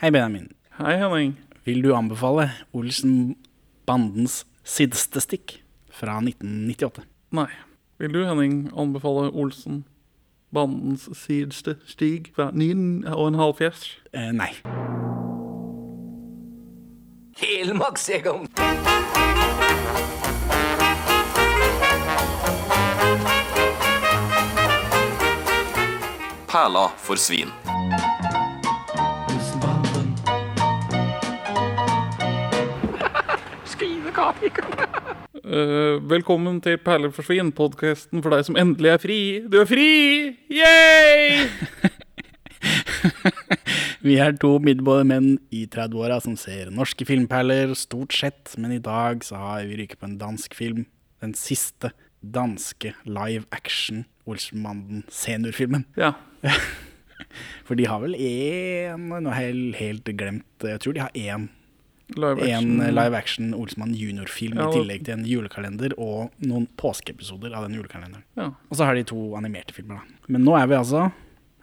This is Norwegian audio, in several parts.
Hei, Benjamin. Hei, Henning. Vil du anbefale Olsen-bandens siste stikk fra 1998? Nei. Vil du, Henning, anbefale Olsen bandens sidste stig fra 9,5 Eh, nei. Helmaks, jeg om. Perla Ah, for svin. Eh, velkommen til Perler for svin, podkasten for deg som endelig er fri. Du er fri! Yay! Vi er to middelmådige menn i 30-åra som ser norske filmperler stort sett, men i dag så har vi ryket på en dansk film. Den siste danske live action Olsenbanden seniorfilmen. Ja. For de har vel én Nå har jeg helt glemt Jeg tror de har én Live En eh, action. live action Olsmann junior-film i Ja, og- tillegg til en julekalender og noen påskeepisoder av den julekalenderen. Ja. Og så har de to animerte filmer, da. Men nå er vi altså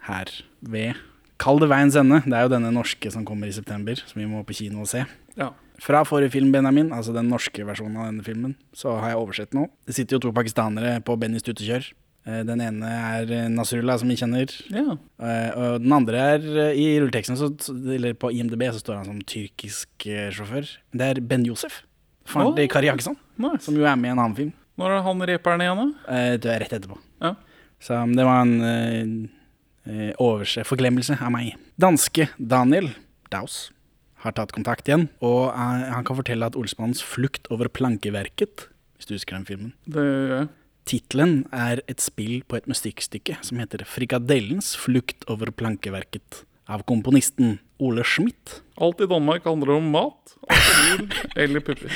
her ved Kall det veiens ende. Det er jo denne norske som kommer i september, som vi må på kino og se. ja. Fra forrige film, Benjamin, altså den norske versjonen av denne filmen, så har jeg oversett nå. Det sitter jo to pakistanere på Bennys tutekjør. Eh, Den ene er eh, Nasrullah, som vi kjenner. ja. Eh, og den andre er eh, I rulleteksten, så, eller på IMDb, så står han som tyrkisk eh, sjåfør. Det er Ben Josef. Faren til Åh. Kari Jakkesson, Nice. som jo er med i en annen film. Når er han reperen igjen, da? Eh, det er rett etterpå. Ja. Så um, det var en eh, eh, overse, forglemmelse av meg. Danske Daniel Daus har tatt kontakt igjen, og eh, han kan fortelle at Olsmannens flukt over plankeverket, hvis du husker den filmen, Det gjør jeg. Titelen er et spill på et musikkstykke som heter 'Frikadellens flukt over plankeverket' av komponisten Ole Schmidt. Alt i Danmark handler om mat, alkohol eller pupper.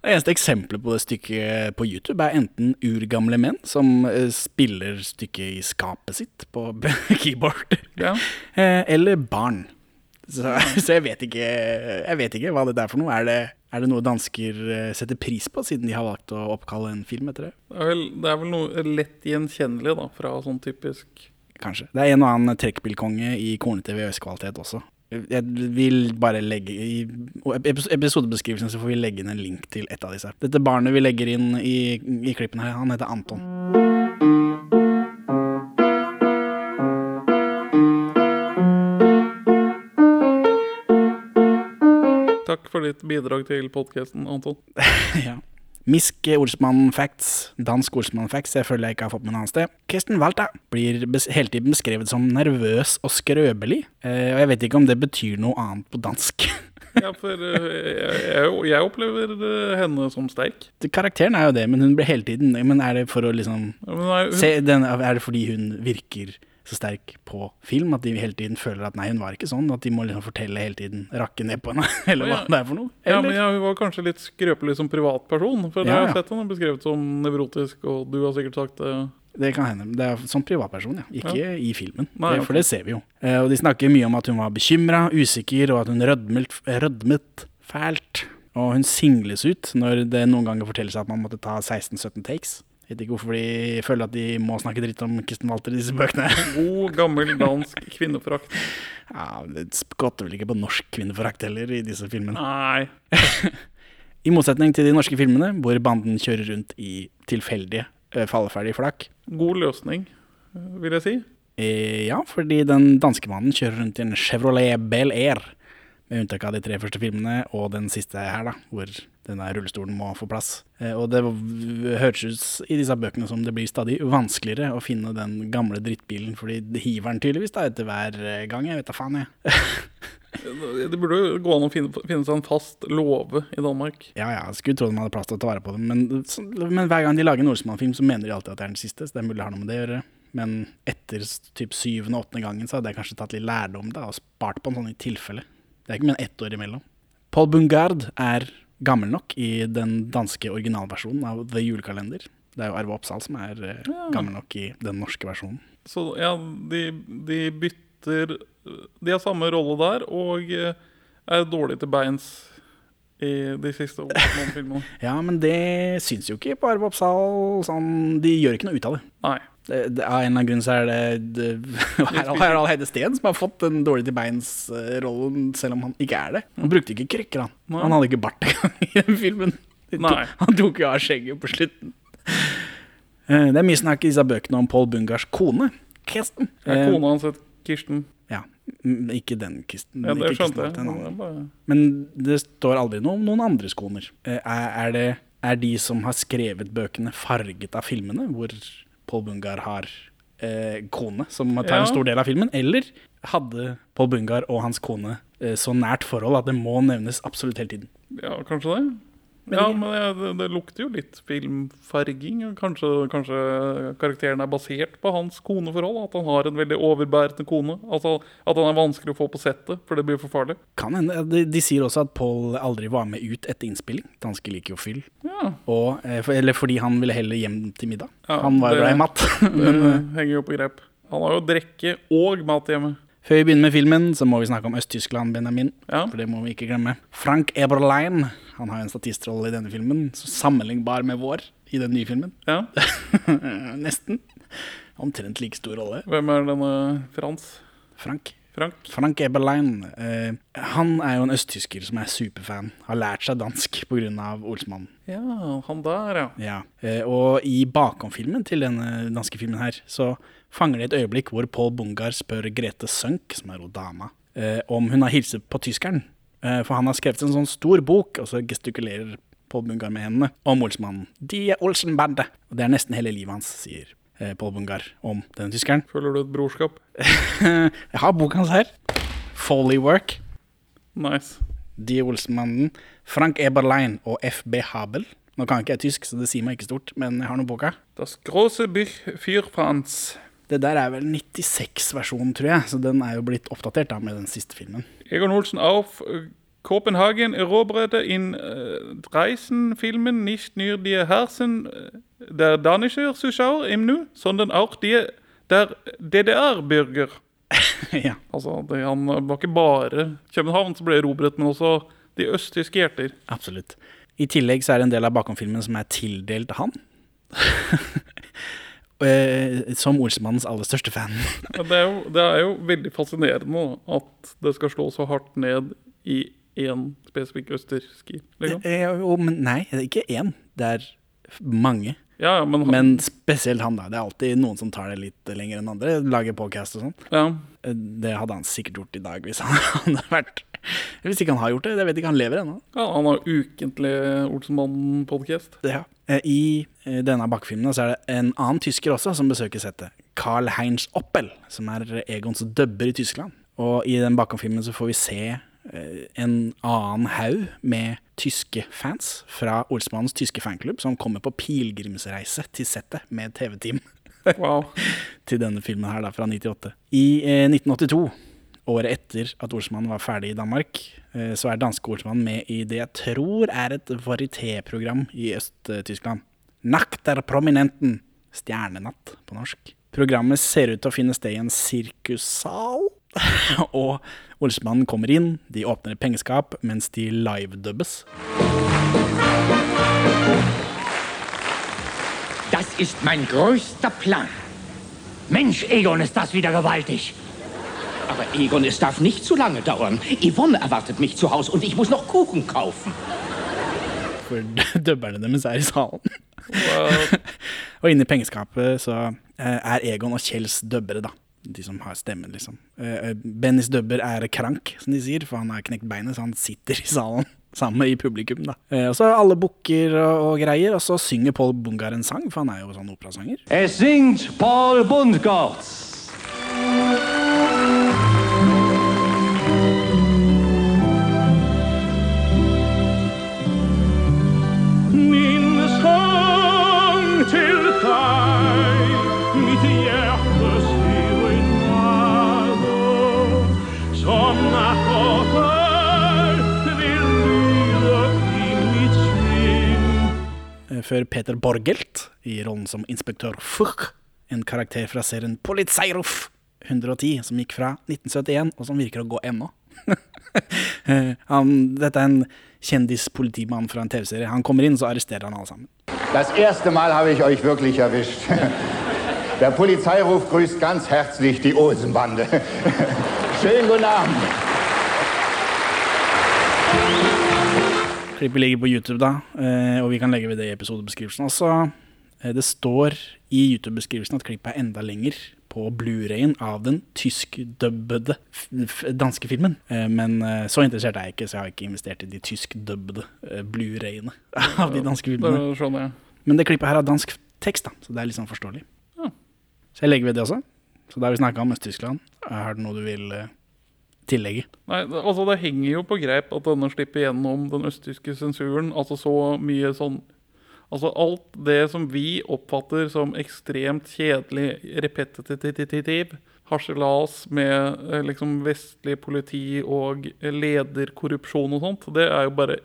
Det eneste eksempelet på det stykket på YouTube er enten urgamle menn som eh, spiller stykket i skapet sitt på keyboard, Ja. eh, eller barn. Så, så jeg, vet ikke, jeg vet ikke hva det er for noe. Er det, er det noe dansker eh, setter pris på, siden de har valgt å oppkalle en film etter det? Det er vel, det er vel noe lett gjenkjennelig da, fra sånn typisk Kanskje. Det er en og annen trekkbilkonge i kornete VØS-kvalitet også. Jeg vil bare legge I epis- episodebeskrivelsen så får vi legge inn en link til et av disse. her. Dette barnet vi legger inn i, i klippen her, han heter Anton. Takk for ditt bidrag til podkasten, Anton. ja. Misk Olsmann Facts, dansk Olsmann Facts, jeg føler jeg ikke har fått med noe annet sted. Kirsten Walter blir bes hele tiden beskrevet som nervøs og skrøbelig, eh, og jeg vet ikke om det betyr noe annet på dansk. Ja, for eh, jeg, jeg, jeg opplever eh, henne som sterk. Karakteren er jo det, men hun blir hele tiden Men er det for å liksom Ja, Men nei, hun, Se, den, er det fordi hun virker så sterk på film at de hele tiden føler at nei, hun var ikke sånn? At de må liksom fortelle hele tiden, rakke ned på henne, eller hva Å, ja. det er for noe? ja, Eller? men ja, hun var kanskje litt skrøpelig som privatperson. For Ja, ja. jeg har sett henne beskrevet som nevrotisk, og du har sikkert sagt det. Det kan hende. Det er som privatperson, ja. Ikke i filmen, Nei, det, for ok. det ser vi jo. Eh, og de snakker mye om at hun var bekymra, usikker, og at hun rødmet, rødmet fælt. Og hun singles ut når det noen ganger fortelles at man måtte ta 16-17 takes. Vet ikke hvorfor de føler at de må snakke dritt om Kristen Walter i disse bøkene. God, gammel dansk kvinneforakt. Ja, Det skotter vel ikke på norsk kvinneforakt heller i disse filmene. Nei. I motsetning til de norske filmene, hvor banden kjører rundt i tilfeldige, eh, falleferdige flak. God løsning, eh, vil jeg si. Eh, ja, fordi den danske mannen kjører rundt i en Chevrolet Bel Air, med unntak av de tre første filmene og den siste her, da, hvor denne rullestolen må få plass. Eh, og det v- høres ut i disse bøkene som det blir stadig vanskeligere å finne den gamle drittbilen, fordi de hiver den tydeligvis da etter hver eh, gang. Jeg vet da faen, jeg. Det burde jo gå an å finne, finne seg en fast låve i Danmark. Ja ja, skulle tro de hadde plass til å ta vare på dem, men, så- men hver gang de lager en Olsenmann-film, så mener de alltid at det er den siste, så det er mulig det har noe med det å gjøre. Men etter s- typ syvende og åttende gangen så hadde jeg kanskje tatt litt lærdom da, og spart på en sånn i tilfelle. Det er ikke mer enn ett år imellom. Paul Bungard er gammel nok i den danske originalversjonen av The Julekalender. Det er jo Arve Oppsal som er eh, gammel nok i den norske versjonen. Så ja, de, de bytter De har samme rolle der, og eh, er dårlige til beins i de siste noen filmene. Ja, men det syns jo ikke på Arve Oppsal. Sånn, de gjør ikke noe ut av det. Nei. det- det- Av en eller annen grunn så er det, det Harald Harald Heide Steen som har fått den dårlig til beins-rollen, selv om han ikke er det. Han brukte ikke krykker, han. Nei. Han hadde ikke bart engang i den filmen. De Nei. tok- Han tok jo av skjegget på slutten. Eh, Det er mye snakk i disse bøkene om Paul Bungars kone, Kirsten. Er Eh, kona hans het Kirsten? Ja, m- ikke den Kirsten. Ja, det ikke Kirsten, skjønte jeg. den andre. Det er bare- Men det står aldri noe om noen andres koner. Eh, Er, er, det, er de som har skrevet bøkene, farget av filmene, hvor Paul Bungar har eh, kone, som tar Ja. en stor del av filmen? Eller hadde Paul Bungar og hans kone eh, så nært forhold at det må nevnes absolutt hele tiden? Ja, kanskje det. Men ja, det- men jeg, det, det lukter jo litt filmfarging. og Kanskje, kanskje karakteren er basert på hans koneforhold? At han har en veldig overbærende kone? Altså, at han er vanskelig å få på settet, for det blir for farlig? Kan hende. De, de sier også at Paul aldri var med ut etter innspilling. Danske liker jo fyll. Ja, Og, eh, for, eller fordi han ville heller hjem til middag. Ja, han var det- jo glad i mat. Det eh, henger jo på grep. Han har jo drikke og mat hjemme. Før vi begynner med filmen, så må vi snakke om Øst-Tyskland, Benjamin. Ja. For det må vi ikke glemme. Frank Eberlein han har jo en statistrolle i denne filmen, så sammenlignbar med vår i den nye filmen. Ja. Nesten. Omtrent like stor rolle. Hvem er denne Frans? Frank. Frank? Frank Eberlein eh, han er jo en østtysker som er superfan. Har lært seg dansk pga. Olsmann. Ja, han der, ja. Ja. Eh, og i bakomfilmen til denne danske filmen her, så fanger de et øyeblikk hvor Paul Bungar spør Grete Sønk, som er hun dama, eh, om hun har hilset på tyskeren. Eh, for han har skrevet en sånn stor bok, og så gestikulerer Paul Bungar med hendene, om Olsmannen. De er Olsen-bandet! Og det er nesten hele livet hans, sier eh, Paul Bungar om denne tyskeren. Føler du et brorskap? Jeg har boka hans her. Foley Work. Nice. De Olsenmannen, Frank Eberlein og FB Habel. Nå kan ikke jeg tysk, så det sier meg ikke stort, men jeg har nå boka. Das große Buch für Franz. Det der er vel 96-versjonen, tror jeg, så den er jo blitt oppdatert da med den siste filmen. Egon Olsen auf äh, Kopenhagen eroberte in äh, 13 Filmen nicht nur die Herzen äh, der dänischen Zuschauer im Nu, sondern auch die der DDR-bürger. ja. Altså, det, han var ikke bare København som ble erobret, men også de østtyske hjerter. Absolutt. I tillegg så er det en del av bakomfilmen som er tildelt han. Eh, Som Olsemannens aller største fan. Men Det er, jo, det er jo veldig fascinerende da, at det skal slå så hardt ned i én spesifikk østersk. Liksom. Eh, Jo, men nei, det er ikke én. Det er mange. Ja, ja, men, han- Men spesielt han, da. Det er alltid noen som tar det litt lenger enn andre. Lager podcast og sånn. ja. Eh, Det hadde han sikkert gjort i dag hvis han hadde vært Hvis ikke han har gjort det. Jeg vet ikke, han lever ennå. Ja, han har ukentlig Olsenmannen-podkast. Ja. Eh, I eh, denne bakfilmen så er det en annen tysker også som besøker settet. Carl Heinz Oppel, som er Egons dubber i Tyskland. Og i den bakomfilmen så får vi se eh, en annen haug med tyske fans fra Olsmannens tyske fanklubb som kommer på pilegrimsreise til settet med TV-team Wow. til denne filmen her da, fra 98. I eh, 1982, året etter at Olsmannen var ferdig i Danmark, eh, så er danske Olsmannen med i det jeg tror er et varietéprogram i Øst-Tyskland. Nakt er prominenten! Stjernenatt på norsk. Programmet ser ut til å finne sted i en sirkussal. og Olsmannen kommer inn, de åpner et pengeskap mens de livedubbes. Das ist mein größter Plan. Mensch, Egon, ist das wieder gewaltig. Aber Egon, es darf nicht zu lange dauern. Yvonne erwartet mich zu Hause und ich muss noch Kuchen kaufen. For dubberne deres er i salen. Wow. Og inne i pengeskapet så eh, er Egon og Kjells døbbere, da. De som har stemmen, liksom. Eh, eh, Bennys døbber er krank, som de sier, for han har knekt beinet, så han sitter i salen sammen i publikum, da. Eh, og så alle bukker og, og greier, og så synger Paul Bungar en sang, for han er jo sånn operasanger. Es singt Paul Bundgartz. Min sang til deg, mitt hjertes hyrinader, som natt og dag vil lyde i mitt sving. Eh, før Peter Borgelt, i rollen som inspektør Fuch, en karakter fra serien Polizeiruff 110, som gikk fra 1971, og som virker å gå ennå. Eh, han, dette er en kjendispolitimann fra en TV-serie. Han kommer inn, så arresterer han alle sammen. Das erste Mal habe ich euch wirklich erwischt. Der Polizeiruf grüßt ganz herzlich die Olsenbande. Schönen guten Abend. Klippet ligger på YouTube, da, eh, og vi kan legge ved det i episodebeskrivelsen også. Eh, Det står i YouTube-beskrivelsen at klippet er enda lenger på Blu-rayen av den tyskdubbede f- f- danske filmen. Eh, Men eh, så interessert er jeg ikke, så jeg har ikke investert i de tyskdubbede eh, Blu-rayene av de danske filmene. Bare sånn, ja. Men det klippet her har dansk tekst, da, så det er litt sånn forståelig. Ja. Så jeg legger ved det også. Så da har vi snakka om Øst-Tyskland. Er det noe du vil eh, tillegge? Nei, det- altså Det henger jo på greip at denne slipper gjennom den østtyske sensuren. Altså så mye sånn Altså alt det som vi oppfatter som ekstremt kjedelig, repetitiv harselas med eh, liksom vestlig politi og lederkorrupsjon og sånt, det er jo bare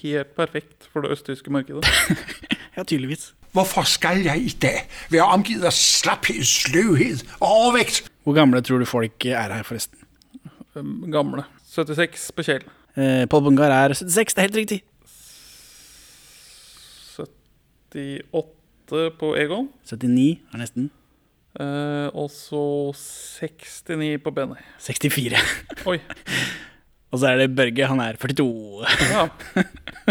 helt perfekt for det østtyske markedet. Ja, tydeligvis. Hvorfor skal jeg i dag være omgivet af slaphed, sløvhed og overvægt? Hvor gamle tror du folk er her, forresten? Um, Gamle. 76 på Kjell. Eh, Pål Bungar er 76, det er helt riktig. 78 på Egon. 79 er nesten. eh, og så 69 på Benny. 64. Oi. Og så er det Børge, han er 42. Ja.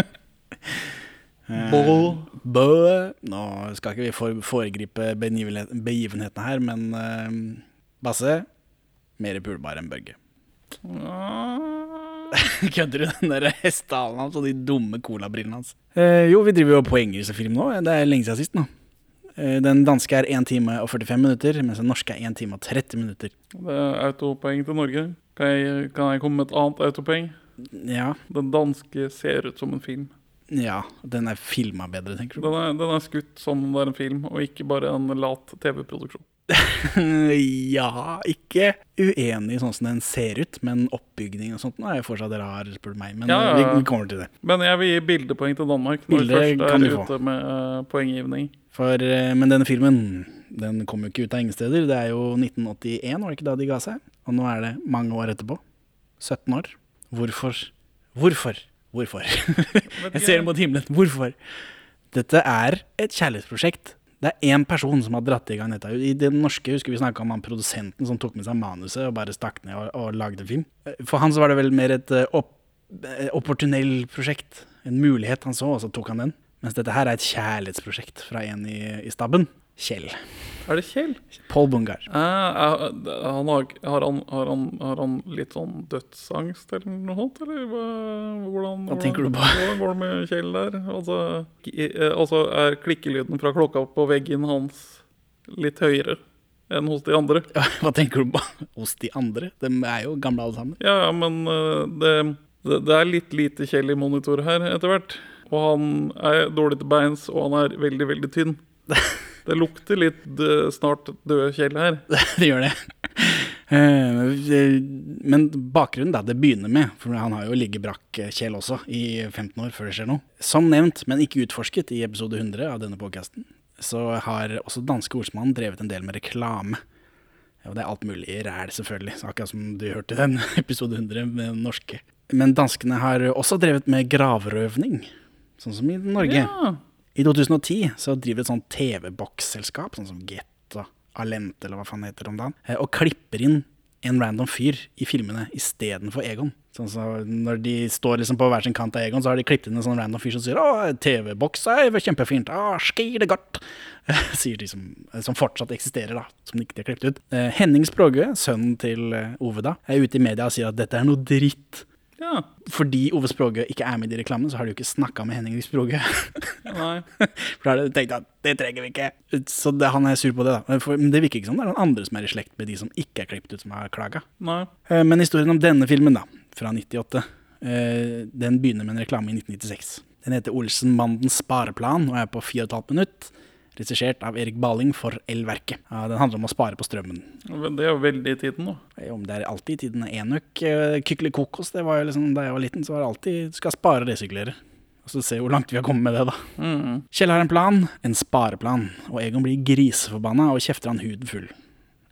Bø. Nå skal ikke vi for- foregripe begivenhet- begivenhetene her, men eh, Basse mer pulbar enn Børge. Ah, Kødder du den der hestehalen hans og de dumme colabrillene hans? Eh, jo, vi driver jo og poengriser film nå. Det er lenge siden sist nå. Eh, den danske er 1 time og 45 minutter, mens den norske er 1 time og 30 minutter. Det er autopoeng til Norge. Kan jeg, kan jeg komme med et annet autopoeng? Ja, Den danske ser ut som en film. ja den er filma bedre, tenker du. Den er, den er skutt som om det er en film, og ikke bare en lat TV-produksjon. ja, ikke uenig i sånn som den ser ut, men oppbygning og sånt nå er jo fortsatt rar, spør du meg. Men Ja, ja, Vi, ja. vi kommer til det. Men jeg vil gi bildepoeng til Danmark når Bilder vi kan først du er få. ute med eh, poenggivning. For, eh, men denne filmen den kom jo ikke ut av ingen steder. Det er jo 1981, var det ikke da de ga seg? Og nå er det mange år etterpå. 17 år. Hvorfor? Hvorfor? Hvorfor? Jeg ser mot himmelen. Hvorfor? Dette er et kjærlighetsprosjekt. Det er én person som har dratt i gang dette. I det norske husker vi snakka om han produsenten som tok med seg manuset og bare stakk ned og, og lagde film. Eh, For han så var det vel mer et eh, opp, eh, opportunell prosjekt. En mulighet han så, og så tok han den. Mens dette her er et kjærlighetsprosjekt fra en i, i stabben. Kjell. Er det Kjell? Paul Bungar. Eh, er- han har, har, han, har, han, har han litt sånn dødsangst eller noe sånt, eller hva, hvordan, Hva tenker du på? hvordan går det med Kjell der? Altså, k- eh, altså er klikkelyden fra klokka på veggen hans litt høyere enn hos de andre? Hva tenker du på hos de andre? De er jo gamle alle sammen. Ja, ja, men eh, det, det, det er litt lite Kjell i monitor her etter hvert. Og han er dårlig til beins, og han er veldig, veldig tynn. Det lukter litt eh, snart døde Kjell her. det gjør det. Eh, Men bakgrunnen, da, det begynner med, for han har jo ligget brakk eh, Kjell også i 15 år før det skjer noe. Som nevnt, men ikke utforsket i episode 100 av denne podcasten, så har også danske ordsmannen drevet en del med reklame. Og det er alt mulig ræl, selvfølgelig, så akkurat som du hørte i den episode 100 med den norske. Men danskene har også drevet med gravrøvning, sånn som i Norge. I 2010 så driver et sånt TV-boksselskap, sånn som Get og Alente, eller hva faen det heter om dagen, eh, og klipper inn en random fyr i filmene istedenfor Egon. Sånn så når de står liksom på hver sin kant av Egon, så har de klippet inn en sånn random fyr som sier 'Å, TV-boks er jo kjempefint. Å, ski det godt'. Sier de som, eh, som fortsatt eksisterer, da, som de ikke har klippet ut. Eh, Henning Språgø, sønnen til eh, Ove da, er ute i media og sier at dette er noe dritt. Ja, Fordi Ove Språgø ikke er med i de reklamene, så har de jo ikke snakka med Henning Språgø. nei. For da har de tenkt at det trenger vi ikke. Så det, han er sur på det, da. Men For, men det virker ikke som det er noen andre som er i slekt med de som ikke er klippet ut, som har klaga. nei. Eh, Men historien om denne filmen, da, fra 98, eh, den begynner med en reklame i 1996. Den heter 'Olsenmandens spareplan' og er på 4,5 minutt. Regissert av Erik Baling for Elverket. Ja, Den handler om å spare på strømmen. Men Det er jo veldig i tiden, da. Eh, Om det er alltid i tiden enøk eh, Kykelikokos, det var jo liksom da jeg var liten, så var det alltid du skal spare og resirkulere. Og så se hvor langt vi har kommet med det, da. Kjell har en plan, en spareplan, og Egon blir griseforbanna og kjefter han huden full.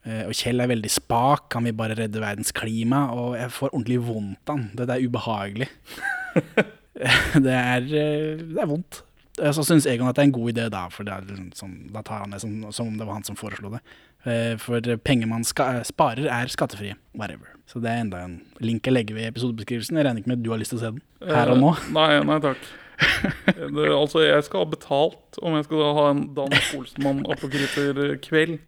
Eh, Og Kjell er veldig spak, han vil bare redde verdens klima, og jeg får ordentlig vondt av han. Dette er ubehagelig. det, er, eh, det er vondt. eh, så syns Egon at det er en god idé da, for det er liksom sånn, da tar han det som, som om det var han som foreslo det. Eh, For penger man ska eh, sparer, er skattefrie. Whatever. Så det er enda en link jeg legger ved i episodebeskrivelsen. Jeg regner ikke med at du har lyst til å se den her Eh, og nå. Nei, nei takk. Det, altså, jeg skal ha betalt om jeg skal ha en Dan Olsenmann apokryfer-kveld.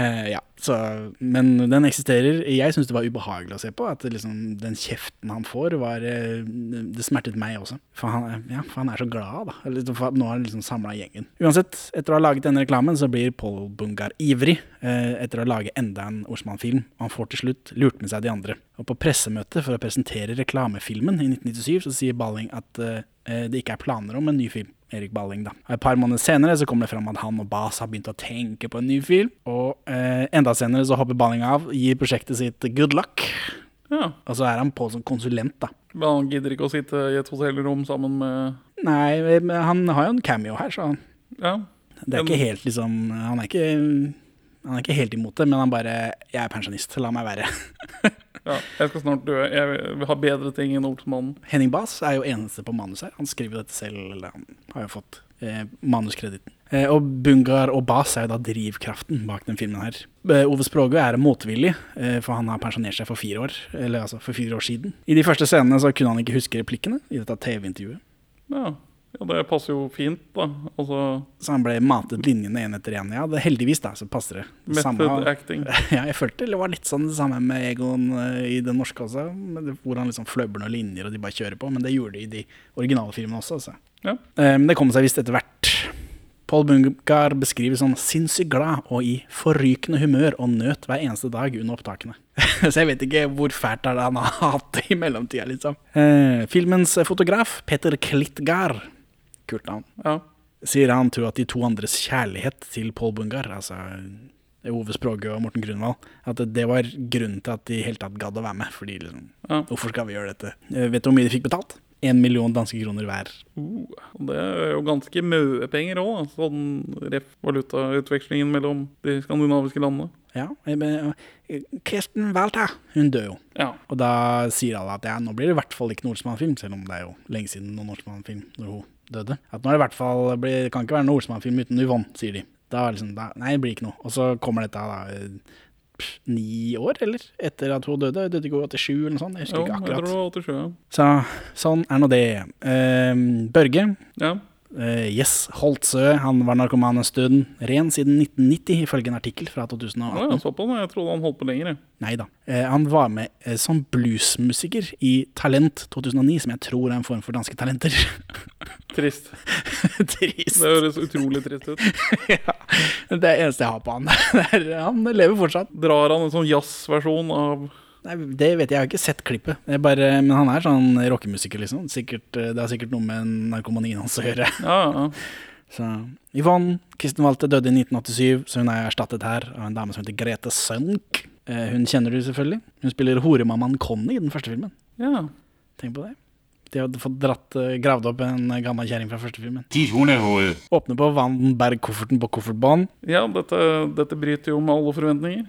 Eh, ja, så, Men den eksisterer. Jeg syns det var ubehagelig å se på. At det liksom, den kjeften han får, var eh, Det smertet meg også. For han, eh, ja, for han er så glad, da. Eller, for at nå har han liksom samla gjengen. Uansett, etter å ha laget denne reklamen, så blir Paul Bungar ivrig eh, etter å lage enda en Osman-film. Og han får til slutt lurt med seg de andre. Og på pressemøtet for å presentere reklamefilmen i 1997, så sier Balling at eh, eh, det ikke er planer om en ny film. Erik Balling, da. Et par måneder senere så kommer det fram at han og Bas har begynt å tenke på en ny film. Og eh, enda senere så hopper Balling av, gir prosjektet sitt good luck. Ja. Og så er han på som konsulent, da. Men han gidder ikke å sitte i et hotellrom sammen med Nei, men han har jo en cameo her, så han, Ja. det er ikke helt liksom Han er ikke, han er ikke helt imot det, men han bare 'Jeg er pensjonist, la meg være'. ja. Jeg skal snart dø. Jeg har bedre ting enn Olsenmannen. Henning Baas er jo eneste på manus her. Han skriver dette selv, eller han har jo fått eh, manuskreditten. Eh, og Bungar og Baas er jo da drivkraften bak den filmen her. Eh, Ove Språgø er motvillig, eh, for han har pensjonert seg for fire år, eller altså for fire år siden. I de første scenene så kunne han ikke huske replikkene i dette TV-intervjuet, Ja. ja, det passer jo fint, da. Altså så han ble matet linjene én etter én. Ja, det, heldigvis da, så passer det. Det samme- method acting. Ja, jeg følte det var litt sånn det samme med Egon eh, i den norske også, men det- hvor han liksom fløbber noen linjer og de bare kjører på, men det gjorde de i de originale filmene også, altså. Ja. Eh, Men det kom seg visst etter hvert. Paul Bungar beskrives som sinnssykt glad og i forrykende humør og nøt hver eneste dag under opptakene. Så jeg vet ikke hvor fælt er det han har hatt det i mellomtida, liksom. Eh, filmens fotograf, Peter Klitgar, kult navn, ja. sier han tror at de to andres kjærlighet til Paul Bungar, altså Ove Språge og Morten Grunwald, at det var grunnen til at de i hele tatt gadd å være med. Fordi liksom, Ja. hvorfor skal vi gjøre dette? Eh, Vet du hvor mye de fikk betalt? Én million danske kroner hver. Uh, og det er jo ganske mye penger òg, sånn ref valutautvekslingen mellom de skandinaviske landene. Ja, eh, men, eh, Kirsten Walter, hun dør jo. Ja. Og da sier alle at ja, nå blir det i hvert fall ikke Nordsmann-film, selv om det er jo lenge siden noen Nordsmann-film når hun døde. At nå er det i hvert fall, blir, det kan ikke være noen Nordsmann-film uten Yvonne, sier de. Da er det liksom, da, nei, det blir ikke noe. Og så kommer dette da, eh, pff, ni år, eller? Etter at hun døde, Hun døde ikke hun 87 eller noe sånt, jeg husker Jo, jeg ikke tror det akkurat. var 87. ja. Så sånn er nå det. Ehm, Børge, Ja. Eh, yes, Holtzøe, han var narkoman en stund, ren siden 1990, ifølge en artikkel fra 2018. Å, ja, såpass. ja. Jeg trodde han holdt på lenger. jeg. Nei da. Eh, han var med eh, som bluesmusiker i Talent 2009, som jeg tror er en form for danske talenter. Trist. Trist. Det høres utrolig trist ut. Ja. Det er det eneste jeg har på han. Det er, han lever fortsatt. Drar han en sånn jazzversjon av Nei, det vet jeg, jeg har ikke sett klippet. Jeg bare, men han er sånn rockemusiker, liksom. Sikkert, eh, det har sikkert noe med narkomanien hans å gjøre. Ja, ja. Så, Yvonne Kristin Walthe døde i 1987, så hun er erstattet her av en dame som heter Grete Sønk. Eh, Hun kjenner du selvfølgelig. Hun spiller horemammaen Conny i den første filmen. ja. Tenk på det. De hadde fått dratt, eh, gravd opp en eh, gammel kjerring fra første filmen. Ditt hundehoved. Åpne på Vandenberg-kofferten på koffertbånd. ja dette, dette bryter jo med alle forventninger.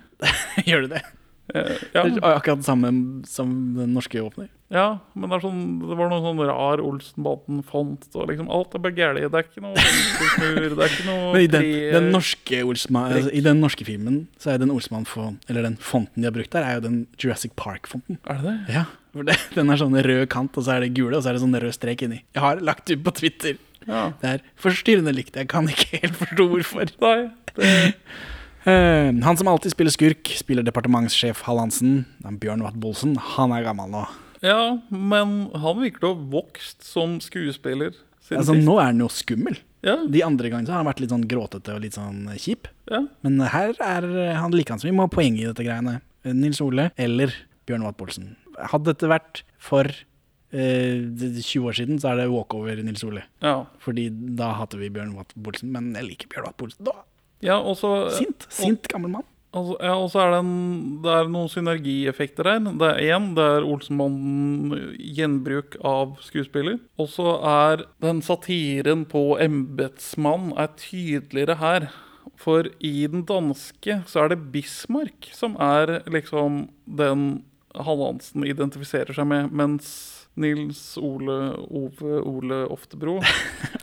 Gjør du det? Eh, Det Ja, er ah, Akkurat det samme som den norske åpner. ja men det, er sånn, det var noe sånn rar Olsenbaten-font. og Liksom, alt er bare gærent. Det er ikke noe smur, det er ikke noe Men i den, tre- den, norske Olsma- altså, I den norske filmen så er den Olsman for, eller den fonten de har brukt der, er jo den Jurassic Park-fonten. Er det det? Ja, for det, Den er sånn rød kant, og så er det gule, og så er det sånn rød strek inni. Jeg har lagt ut på Twitter. Ja. Det er forstyrrende likt. Jeg kan ikke helt forstå hvorfor. Nei, det, Eh, han som alltid spiller skurk, spiller departementssjef Hallandsen. Det er Bjørn Watt Bolsen. Han er gammel nå. ja, men han virker å ha vokst som skuespiller siden Altså, sist. nå er han jo skummel. Ja, De andre gangene så har han vært litt sånn gråtete og litt sånn eh, kjip. ja. Men her er eh, han likeens. Vi må ha poeng i dette greiene. Eh, Nils Ole eller Bjørn Watt Bolsen. Hadde dette vært for eh, 20 år siden, så er det walkover Nils Ole. ja. Fordi da hater vi Bjørn Watt Bolsen, men jeg liker Bjørn Watt Bolsen. Da. ja og så- Sint, sint gammel mann. Altså, ja, og så er det, en, det er noen synergieffekter her. Det er én, det er Olsenbanden gjenbruk av skuespiller. Og så er den satiren på embetsmann er tydeligere her. For i den danske så er det Bismarck som er liksom den Hallandsen identifiserer seg med, mens Nils Ole Ove Ole Oftebro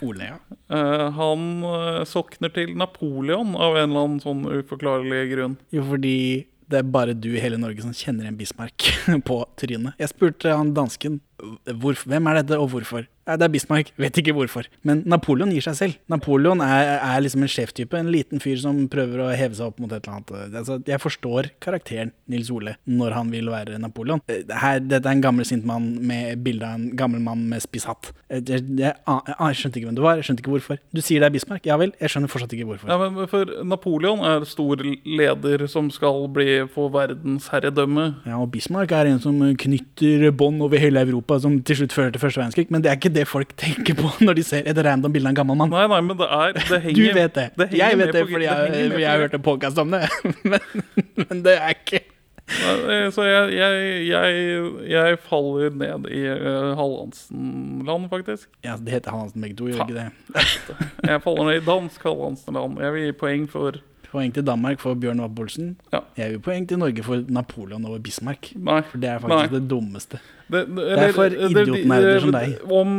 Ole, ja. eh, Han eh, sokner til Napoleon av en eller annen sånn uforklarlig grunn. Jo, fordi det er bare du i hele Norge som kjenner en Bismarck på trynet. Jeg spurte han dansken hvorf- hvem er dette, og hvorfor. Nei, det er Bismarck, vet ikke hvorfor. Men Napoleon gir seg selv. Napoleon er, er liksom en sjeftype, en liten fyr som prøver å heve seg opp mot et eller annet. Altså, jeg forstår karakteren Nils Ole når han vil være Napoleon. Eh, Her, dette er en gammel sint mann med bilde av en gammel mann med spiss hatt. Eh, Jeg, jeg, an- jeg skjønte ikke hvem du var, jeg skjønte ikke hvorfor. Du sier det er Bismarck, ja vel, jeg skjønner fortsatt ikke hvorfor. Ja, men for Napoleon er stor leder som skal bli få verdensherredømme. Ja, og Bismarck er en som knytter bånd over hele Europa, som til slutt fører til første verdenskrig, men det er ikke det folk tenker på når de ser et random bilde av en gammel mann. Nei, nei, men det er det Du henger, vet det. henger Jeg med vet det på- fordi det jeg, henger med på fordi jeg har hørt en podkast om det, men, men det er ikke Eh, Så jeg, jeg, jeg, jeg faller ned i uh, Hallandsen-land, faktisk. Ja, det heter Hansen begge to, gjør ikke det? Jeg faller ned i dansk Hallandsen-land. Jeg vil gi poeng for Poeng til Danmark for Bjørn Wapp-Olsen. Ja. Jeg vil poeng til Norge for Napoleon over Bismarck. Nei. For det er faktisk det dummeste. Det, det, er for idiotnerder som deg. Om,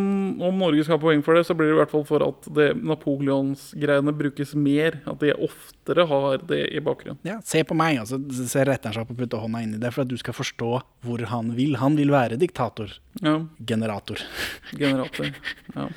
om Norge skal ha poeng for det, så blir det i hvert fall for at det Napoleons-greiene brukes mer. At de oftere har det i bakgrunnen. Ja, se på meg, og så så retter han seg opp og putter hånda inni det, for at du skal forstå hvor han vil. Han vil være diktator. Ja, Generator. generator. Ja.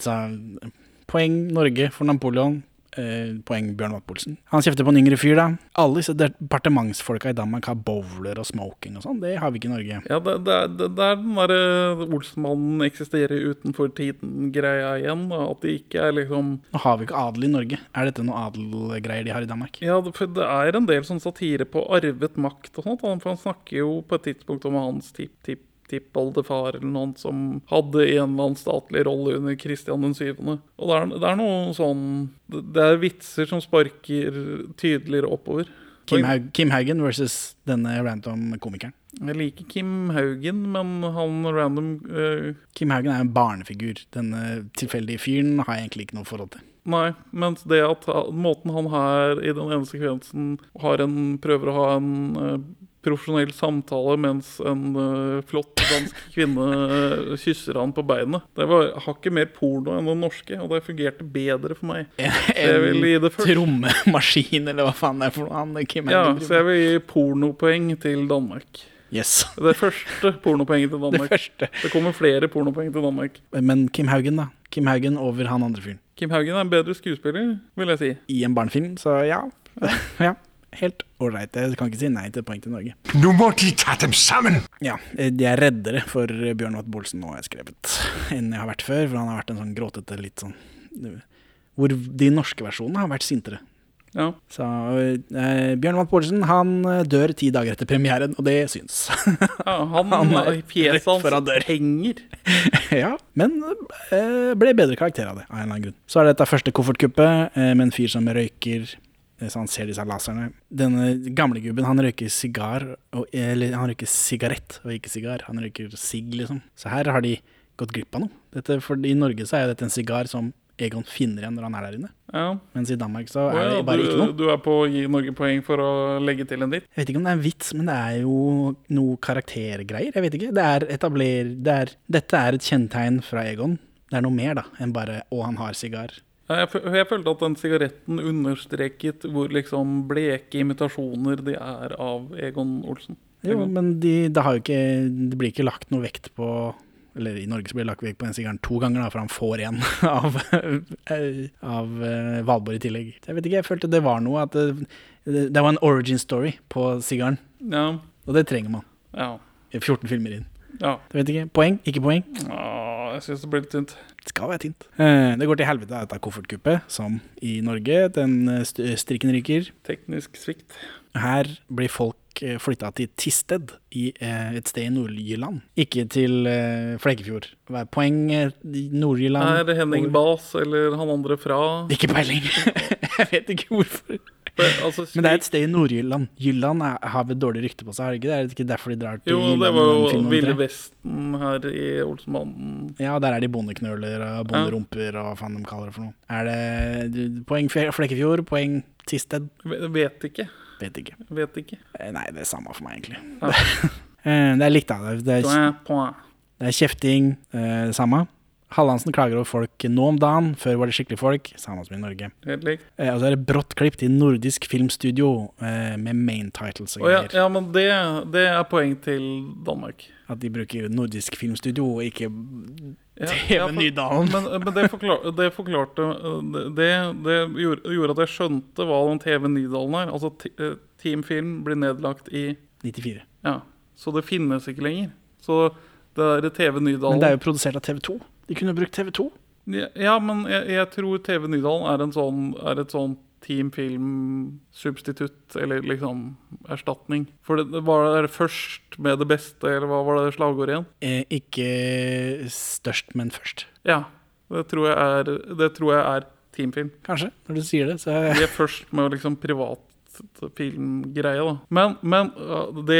Så eh, poeng Norge for Napoleon. Eh, poeng Bjørn Watt-Olsen. Han kjefter på en yngre fyr, da. Alle disse departementsfolka i Danmark har bowler og smoking og sånn. Det har vi ikke i Norge. Ja, det, det, er- det, det er den derre Olsmannen eksisterer utenfor tiden-greia igjen. da, At de ikke er liksom Nå har vi ikke adel i Norge. Er dette noe adelgreier de har i Danmark? Ja, det- for det er en del sånn satire på arvet makt og sånt. han- For han snakker jo på et tidspunkt om hans tipp-tipp-tippoldefar eller noen som hadde en eller annen statlig rolle under Kristian den syvende. Og det er, det er noe sånn Det det er vitser som sparker tydeligere oppover. Kim, Haug Kim Haugen versus denne random komikeren. Jeg liker Kim Haugen, men han random eh, Kim Haugen er en barnefigur. Denne tilfeldige fyren har jeg egentlig ikke noe forhold til. Nei, mens det at ha- måten han her i den ene sekvensen har en, prøver å ha en eh, profesjonell samtale mens en eh, flott dansk kvinne eh, kysser han på beinet Det var hakket mer porno enn den norske, og det fungerte bedre for meg. Så jeg vil gi det først. Trommemaskin, eller hva faen det er for noe han Kim Ja, Haugen så driver med. jeg vil gi pornopoeng til Danmark. Yes. Det første pornopoenget til Det Danmark. første. Det kommer flere pornopoeng til Danmark. Men Kim Haugen, da. Kim Haugen over han andre fyren. Kim Haugen er en bedre skuespiller, vil jeg si. i en barnefilm, så ja. ja. Helt ålreit. Jeg kan ikke si nei til et poeng til Norge. Nu må de tage dem sammen. Ja, eh, Jeg er reddere for eh, Bjørn Watt Bolsen nå, har jeg skrevet, enn jeg har vært før. For han har vært en sånn gråtete, litt sånn Hvor de norske versjonene har vært sintere. Ja. Så eh, Bjørn Watt Bolsen han eh, dør ti dager etter premieren, og det syns. Ja, han, Han er rett Fjeset før han hans dør. henger. ja, men eh, ble bedre karakter av det, av en eller annen grunn. Så er det dette første koffertkuppet eh, med en fyr som røyker, eh, så han ser disse laserne. Denne gamlegubben, han røyker sigar, og, eller han røyker sigarett, og ikke sigar. Han røyker sigg, liksom. Så her har de gått glipp av noe. Dette, for I Norge så er jo dette en sigar som Egon finner igjen når han er der inne, Ja. mens i Danmark så Å er ja, det bare du, ikke noe. du er på å gi Norge poeng for å legge til en ditt? Jeg vet ikke om det er en vits, men det er jo noe karaktergreier. Jeg vet ikke. Det er etabler... Det er, dette er et kjennetegn fra Egon. Det er noe mer da, enn bare 'å, han har sigar'. Ja, Jeg, fø- jeg følte at den sigaretten understreket hvor liksom bleke imitasjoner de er av Egon Olsen. Jo, Egon. men de, det, har jo ikke, det blir ikke lagt noe vekt på Eller i Norge så blir det lagt vekt på den sigaren to ganger, da, for han får en av, eh, av eh, Valborg i tillegg. Jeg vet ikke, jeg følte det var noe at det, det, det var en origin story på sigaren. Ja, Og det trenger man. ja, 14 filmer inn. ja. Jeg vet ikke, Poeng, ikke poeng. Ah, jeg syns det ble litt tynt. Det skal være tynt. Eh, Det går til helvete av dette koffertkuppet, som i Norge. Den eh, st- strikken ryker. Teknisk svikt. Her blir folk eh, flytta til Tisted, i eh, et sted i Nord-Jylland. Ikke til eh, Flekkefjord. Hva er poeng eh, i Nord-Jylland? Er det Henning Over- Bas eller han andre fra Ikke peiling. Jeg vet ikke hvorfor. altså, Men det er et sted i Nord-Jylland. Jylland er, har vel dårlig rykte på seg, har det ikke? det? Er det ikke derfor de drar til Jo, Jylland? det i var den jo filmen om Ville tre? Vesten her i Olsenbanden. Ja, der er de bondeknøler og bonderumper og hva faen de kaller det for noe. Er det du- poeng Fle- Flekkefjord, poeng Tisted? Ve- Vet ikke. Vet ikke. Vet ikke. Eh, Nei, det er samme for meg, egentlig. Eh, Det er likt, da. Det er, Point, point. det er kjefting, eh, det samme. Hallandsen klager over folk nå om dagen. Før var det skikkelig folk. Samme som i Norge. Helt likt. Eh, Og så er det brått klipp til nordisk filmstudio eh, med main titles og Å ja, greier. ja, men det, det er poeng til Danmark. At de bruker nordisk filmstudio og ikke Ja, TV ja, for- Nydalen. Men, men det, forklar, det forklarte uh, Det, det gjorde, gjorde at jeg skjønte hva den TV Nydalen er. Altså ti- uh, Team Film blir nedlagt i 94. Ja. Så det finnes ikke lenger. Så det er TV Men det er Nydalen jo produsert av TV2. De kunne brukt TV2. Ja, men jeg, jeg tror TV Nydalen er, en sånn, er et sånn Team Film-substitutt, eller liksom erstatning. For det, det var det først med det beste, eller hva var det slagordet igjen? Eh, ikke størst, men først. Ja. Det tror jeg er, det tror jeg er teamfilm. Kanskje, når du sier det. Så De er først med å liksom privatfilmgreie, da. Men, men øh, det,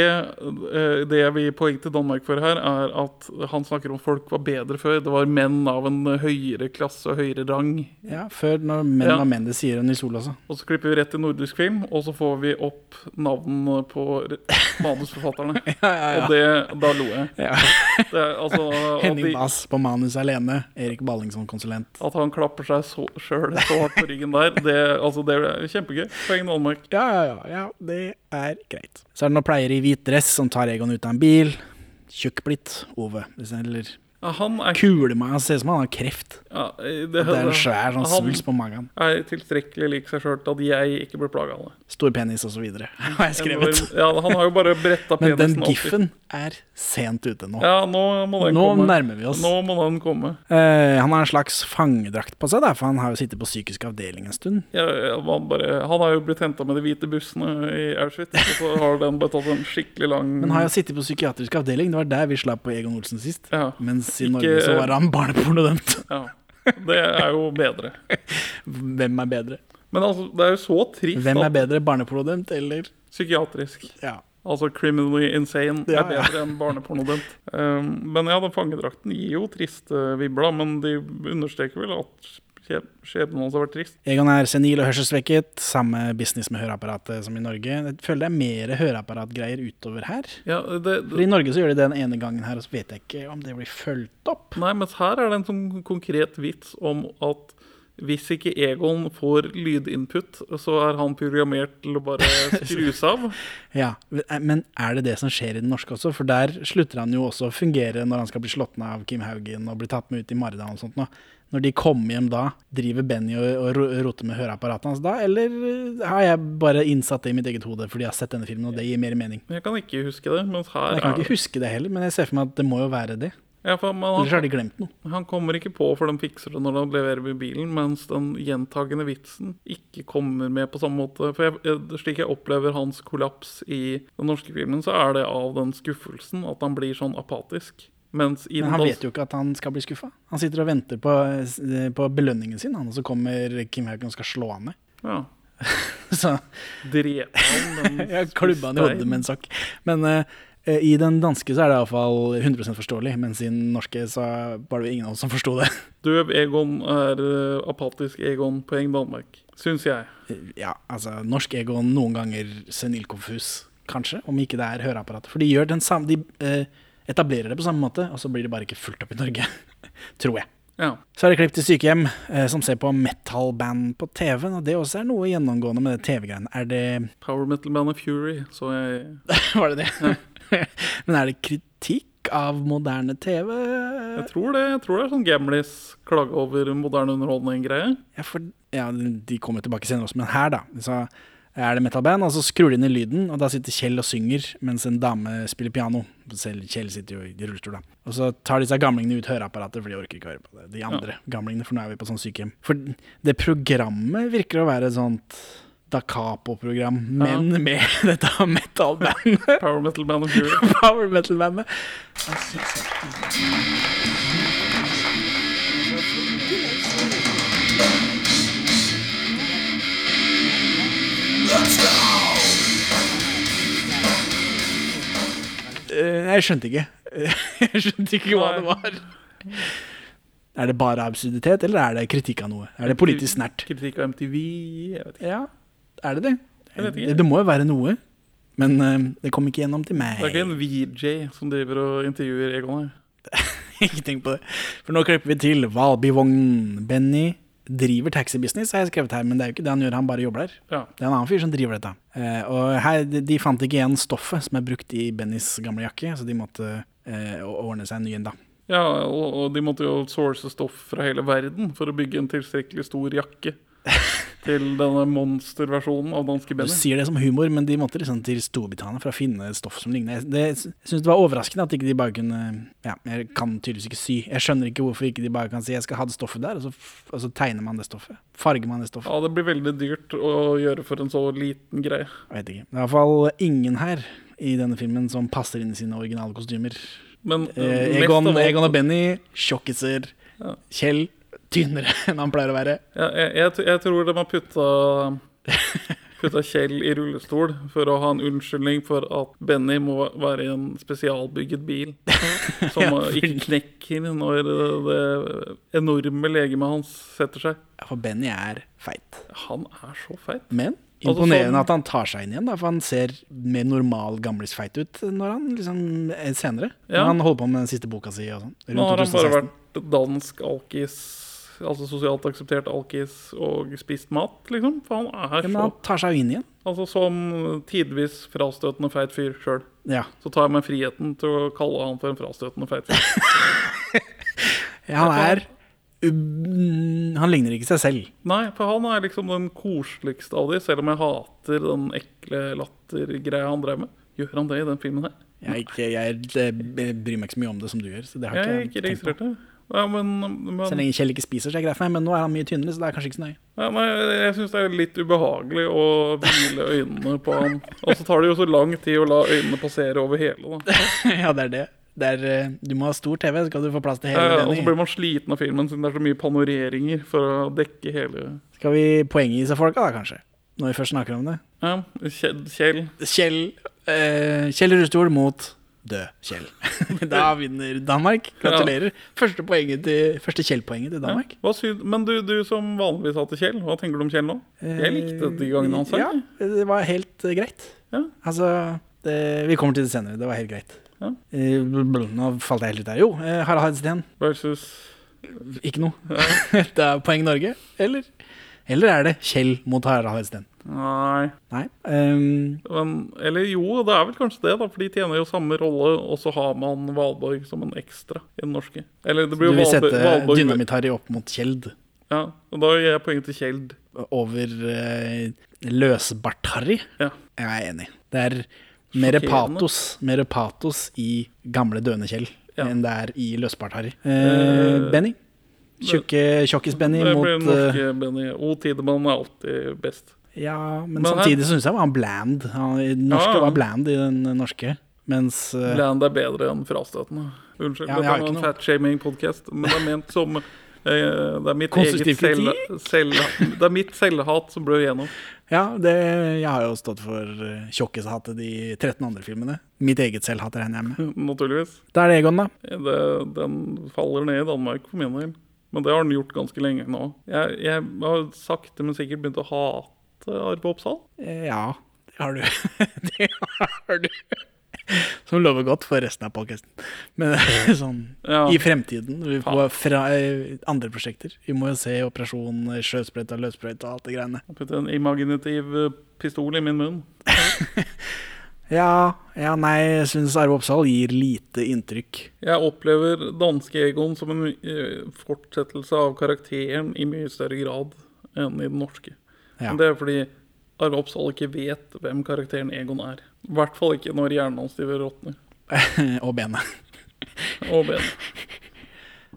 øh, det vi poeng til Danmark for her, er at han snakker om folk var bedre før. Det var menn av en høyere klasse og høyere rang. ja, før når menn Ja. var menn, det sier Nils Ole også. Og så klipper vi rett til nordisk film, og så får vi opp navnene på re- manusforfatterne. Og det, da lo jeg. Det er, altså, at, Henning de, Bass på manus alene. Erik Ballingsson konsulent. at han klapper seg sjøl så, selv så hardt på ryggen der, det, altså, det er kjempegøy. Poeng Danmark. Ja, ja, ja, ja, det er greit. Så er det noen pleiere i hvit dress som tar Egon ut av en bil. Tjukk blitt Ove. Hvis jeg- Eller Ja, Han er kulemann. Han ser ut som han har kreft. Ja, det, Det er en svær sånn han svulst på magen. er tilstrekkelig lik seg sjøl til at jeg ikke blir plaga av det. Stor penis og så videre, har jeg skrevet. Ja, han har jo bare bretta Men penisen den opp i- giffen er sent ute nå. Ja, nå må den Nå komme. nærmer vi oss. Nå må den komme. Eh, han har en slags fangedrakt på seg, da, for han har jo sittet på psykisk avdeling en stund. Ja, ja, han, bare, han har jo blitt henta med de hvite bussene i Auschwitz, og så har den bare tatt en skikkelig lang Men har jo sittet på psykiatrisk avdeling, det var der vi slapp på Egon Olsen sist. Ja. Mens i Ikke- Norge så var han barnepornodømt. ja, Det er jo bedre. Hvem er bedre? Men altså, det er jo så trist Hvem er at bedre, barnepornodømt eller psykiatrisk Ja. Altså criminally insane Ja, er ja. bedre enn barnepornodømt. Um, men ja, den fangedrakten gir jo triste vibler, da, men de understreker vel at skje- skjebnen hans har vært trist. Egon er senil og hørselssvekket. Samme business med høreapparatet som i Norge. Jeg føler det er mer høreapparatgreier utover her. Ja, det, For det, I Norge så gjør de det den ene gangen her, og så vet jeg ikke om det blir fulgt opp. nei, mens her er det en sånn konkret vits om at hvis ikke Egon får lydinput, så er han programmert til å bare skrus av. Ja, eh, Men er det det som skjer i den norske også? For der slutter han jo også å fungere når han skal bli slått ned av Kim Haugen og bli tatt med ut i Maridalen og sånt nå. Når de kommer hjem da, driver Benny og, og ro- roter med høreapparatet hans da? Eller eh, har jeg bare innsatt det i mitt eget hode fordi jeg har sett denne filmen, og det gir mer mening? Jeg kan ikke huske det, mens her Jeg kan er ikke huske det heller, men jeg ser for meg at det må jo være det. ja, for, men Ellers har han, de glemt noe. han kommer ikke på, for de fikser det når de leverer med bilen, mens den gjentagende vitsen ikke kommer med på samme måte. For jeg, jeg, Slik jeg opplever hans kollaps i den norske filmen, så er det av den skuffelsen at han blir sånn apatisk. Mens i Men den han dans- vet jo ikke at han skal bli skuffa. Han sitter og venter på, eh, på belønningen sin, han, og så kommer Kim Haugen og skal slå han ned. Ja. Så Dreper han den Jeg klubba han i hodet med en sokk. Men eh, eh, i den danske så er det iallfall 100 forståelig, mens i den norske så var det jo ingen av oss som forsto det. Døv Egon er eh, apatisk Egon poeng Danmark, syns jeg. Ja, altså, norsk ego noen ganger senilkonfus, kanskje, om ikke det er høreapparat. For de gjør den samme De eh, etablerer det på samme måte, og så blir det bare ikke fulgt opp i Norge. Tror jeg. Ja. Så er det klipp til sykehjem eh, som ser på metal-band på TV-en, og det også er noe gjennomgående med det TV-greiene. Er det Power metal-bandet Fury, så jeg Var det det? Men er det kritikk av moderne TV? Jeg tror det, jeg tror det er sånn gamlis klage over moderne underholdning-greie. Ja, for, ja, de kommer jo tilbake senere også, men her, da. Så er det metalband, og så skrur de inn i lyden, og da sitter Kjell og synger mens en dame spiller piano. Selv Kjell sitter jo i rullestol, da. Og så tar disse gamlingene ut høreapparatet, for de orker ikke høre på det. De andre gamlingene, for nå er vi på sånn sykehjem. For det programmet virker å være et sånt Da Capo-program, men med dette metalbandet. Power metal-bandet Fury. Power Eh, metal-bandet. Eh, Jeg skjønte ikke. Jeg skjønte ikke hva det var. Er det bare absurditet, eller er det kritikk av noe? Er det politisk snert? Kritikk av MTV, jeg vet ikke. Ja, er det det? Jeg vet ikke. Det må jo være noe. Men eh, det kom ikke gjennom til meg. Det er ikke en VJ som driver og intervjuer Egon her. ikke tenk på det. For nå klipper vi til Valbyvogn. Benny driver taxibusiness, har jeg skrevet her, men det er jo ikke det han gjør, han bare jobber der. Ja. Det er en annen fyr som driver dette. Eh, og her, de, de fant ikke igjen stoffet som er brukt i Bennys gamle jakke, så de måtte eh, å- ordne seg en ny en da. Ja, og, og de måtte jo source stoff fra hele verden for å bygge en tilstrekkelig stor jakke til denne monsterversjonen av danske Du Benny. sier det som humor, men de måtte liksom til Storbritannia for å finne stoff som ligner. Det, jeg syns det var overraskende at ikke de bare kunne Ja, jeg kan tydeligvis ikke sy. Jeg skjønner ikke hvorfor ikke de bare kan si 'jeg skal ha det stoffet der', og så, f- og så tegner man det stoffet. Farger man det stoffet. Ja, det blir veldig dyrt å gjøre for en så liten greie. Jeg vet ikke. Det er i hvert fall ingen her i denne filmen som passer inn i sine originale kostymer. Men Eh, mest Egon, av alt- Egon og Benny, tjokkiser. Kjell, tynnere enn han pleier å være. Ja, jeg, jeg, t- jeg tror de har putta Putta Kjell i rullestol for å ha en unnskyldning for at Benny må være i en spesialbygget bil som eh, ikke knekker når det, det enorme legemet hans setter seg. Ja, For Benny er feit. Han er så feit. Men Altså, imponerende sånn- at han tar seg inn igjen, da, for han ser mer normal gamlisfeit ut når han liksom eh, senere. Ja. Når han holder på med den siste boka si og sånn. Rundt Nå har han bare 2016. vært dansk alkis, altså sosialt akseptert alkis, og spist mat, liksom. For han er Men så han tar seg jo inn igjen. Altså som tidvis frastøtende feit fyr sjøl. Ja. Så tar jeg meg friheten til å kalle han for en frastøtende feit fyr. ja han er um, Han ligner ikke seg selv. Nei, for han er liksom den koseligste av de, selv om jeg hater den ekle lattergreia han drev med. Gjør han det i den filmen her? Jeg, er ikke, jeg, jeg bryr meg ikke så mye om det som du gjør. Så det har Jeg ikke har jeg ikke tenkt på. registrert det. Ja, men, Så men lenge Kjell ikke spiser, så er det greit for meg, men nå er han mye tynnere, så det er kanskje ikke så nøye. ja, nei, jeg syns det er litt ubehagelig å hvile øynene på han. Og så tar det jo så lang tid å la øynene passere over hele. da. ja, det er det. det er, eh, du må ha stor TV, så skal du få plass til hele Eh, Og så Benny. blir man sliten av filmen siden det er så mye panoreringer for å dekke hele Skal vi poenggi seg folka, da, kanskje? Når vi først snakker om det. ja, Kjell, Kjell Kjell eh, Kjell Rustol mot død Kjell. da vinner Danmark. Gratulerer. Første, poenget til, første Kjell-poenget til Danmark. Hva syn- men du, du som vanligvis hater Kjell, hva tenker du om Kjell nå? Jeg likte de gangene han sang. Eh, Ja, det var helt eh, greit. Ja. Altså det, Vi kommer til det senere. Det var helt greit. Ja. Eh, bl- bl- Nå falt jeg helt ut der. Jo, eh, Harald Heidsten. Versus Ikke noe. det er poeng Norge, eller? Eller er det Kjell mot Harald Heidsten? Nei. Nei. ehm, Men, eller jo, det er vel kanskje det, da, for de tjener jo samme rolle, og så har man Valborg som en ekstra i den norske. Eller det blir du jo vil Valborg, sette Valborg Dynamitt-Harry opp mot Kjeld Ja, og Da gir jeg poeng til Kjell. over eh, Løsbart-Harry? Ja. Jeg er enig. Det er mer Sjokkerende. patos, mer patos i gamle døende Kjell Ja. enn det er i Løsbart-Harry. Eh, Benny. Tjukke Tjokkis-Benny Det mot blir den eh, norske Benny. O. Tidemann er alltid best. Ja, men, Men her- samtidig så syns jeg var han bland. Han, i den norske Ja, ja. var bland i den norske, mens eh, Land er bedre enn frastøtende. Unnskyld, Ja, men jeg dette har er ikke en noe- fatshaming-podcast, men det er ment som eh, det er mitt Konstruktiv eget selv, selv, Det er mitt selvhat som brød igjennom. Ja, det, jeg har jo stått for eh, tjokkishatet de 13 andre filmene. Mitt eget selv hater regner jeg med. Naturligvis. Da er det Egon, da. Det, den faller ned i Danmark for min del. Men det har den gjort ganske lenge nå. Jeg, jeg har sakte, men sikkert begynt å hate Arve Oppsal. Eh, Ja, det har du. det har du. Som lover godt for resten av podkasten. Men sånn Ja. i fremtiden, vi får fra eh, andre prosjekter. Vi må jo se Operasjon eh, sjøsprøyte og løssprøyte og alt det greiene. Jeg putter en imaginativ eh, pistol i min munn. Ja, ja nei, jeg syns Arve Oppsal gir lite inntrykk. Jeg opplever danske Egon som en eh, fortsettelse av karakteren i mye større grad enn i den norske. Ja. Men det er fordi Arve Oppsal ikke vet hvem karakteren Egon er. I hvert fall ikke når hjernen hans driver og råtner. og benet. Og ben.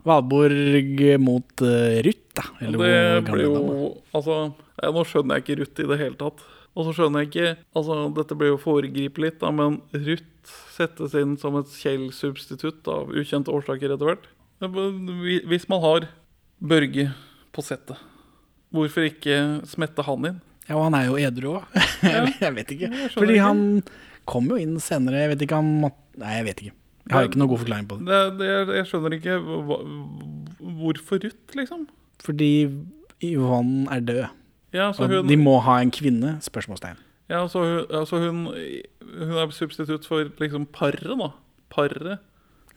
Valborg mot eh, Ruth, da. Eller Det hvor gammel blir den var. jo Altså, nei, nå skjønner jeg ikke Ruth i det hele tatt. Og så skjønner jeg ikke Altså, dette blir jo å foregripe litt, da, men Ruth settes inn som et Kjell-substitutt av ukjente årsaker etter hvert. Men hvi- Hvis man har Børge på settet, hvorfor ikke smette han inn? Ja, og han er jo edru òg. jeg vet ikke. Fordi ikke. han kom jo inn senere. Jeg vet ikke, han måtte Nei, jeg vet ikke. Jeg har ikke noen god forklaring på det. Det, det, jeg- jeg skjønner ikke hva- hvorfor Ruth, liksom. Fordi Yvonne er død. Ja, så Og hun, de må ha en kvinne? Spørsmålstegn. Ja, altså, hun, altså hun, hun er substitutt for liksom paret, da. Paret.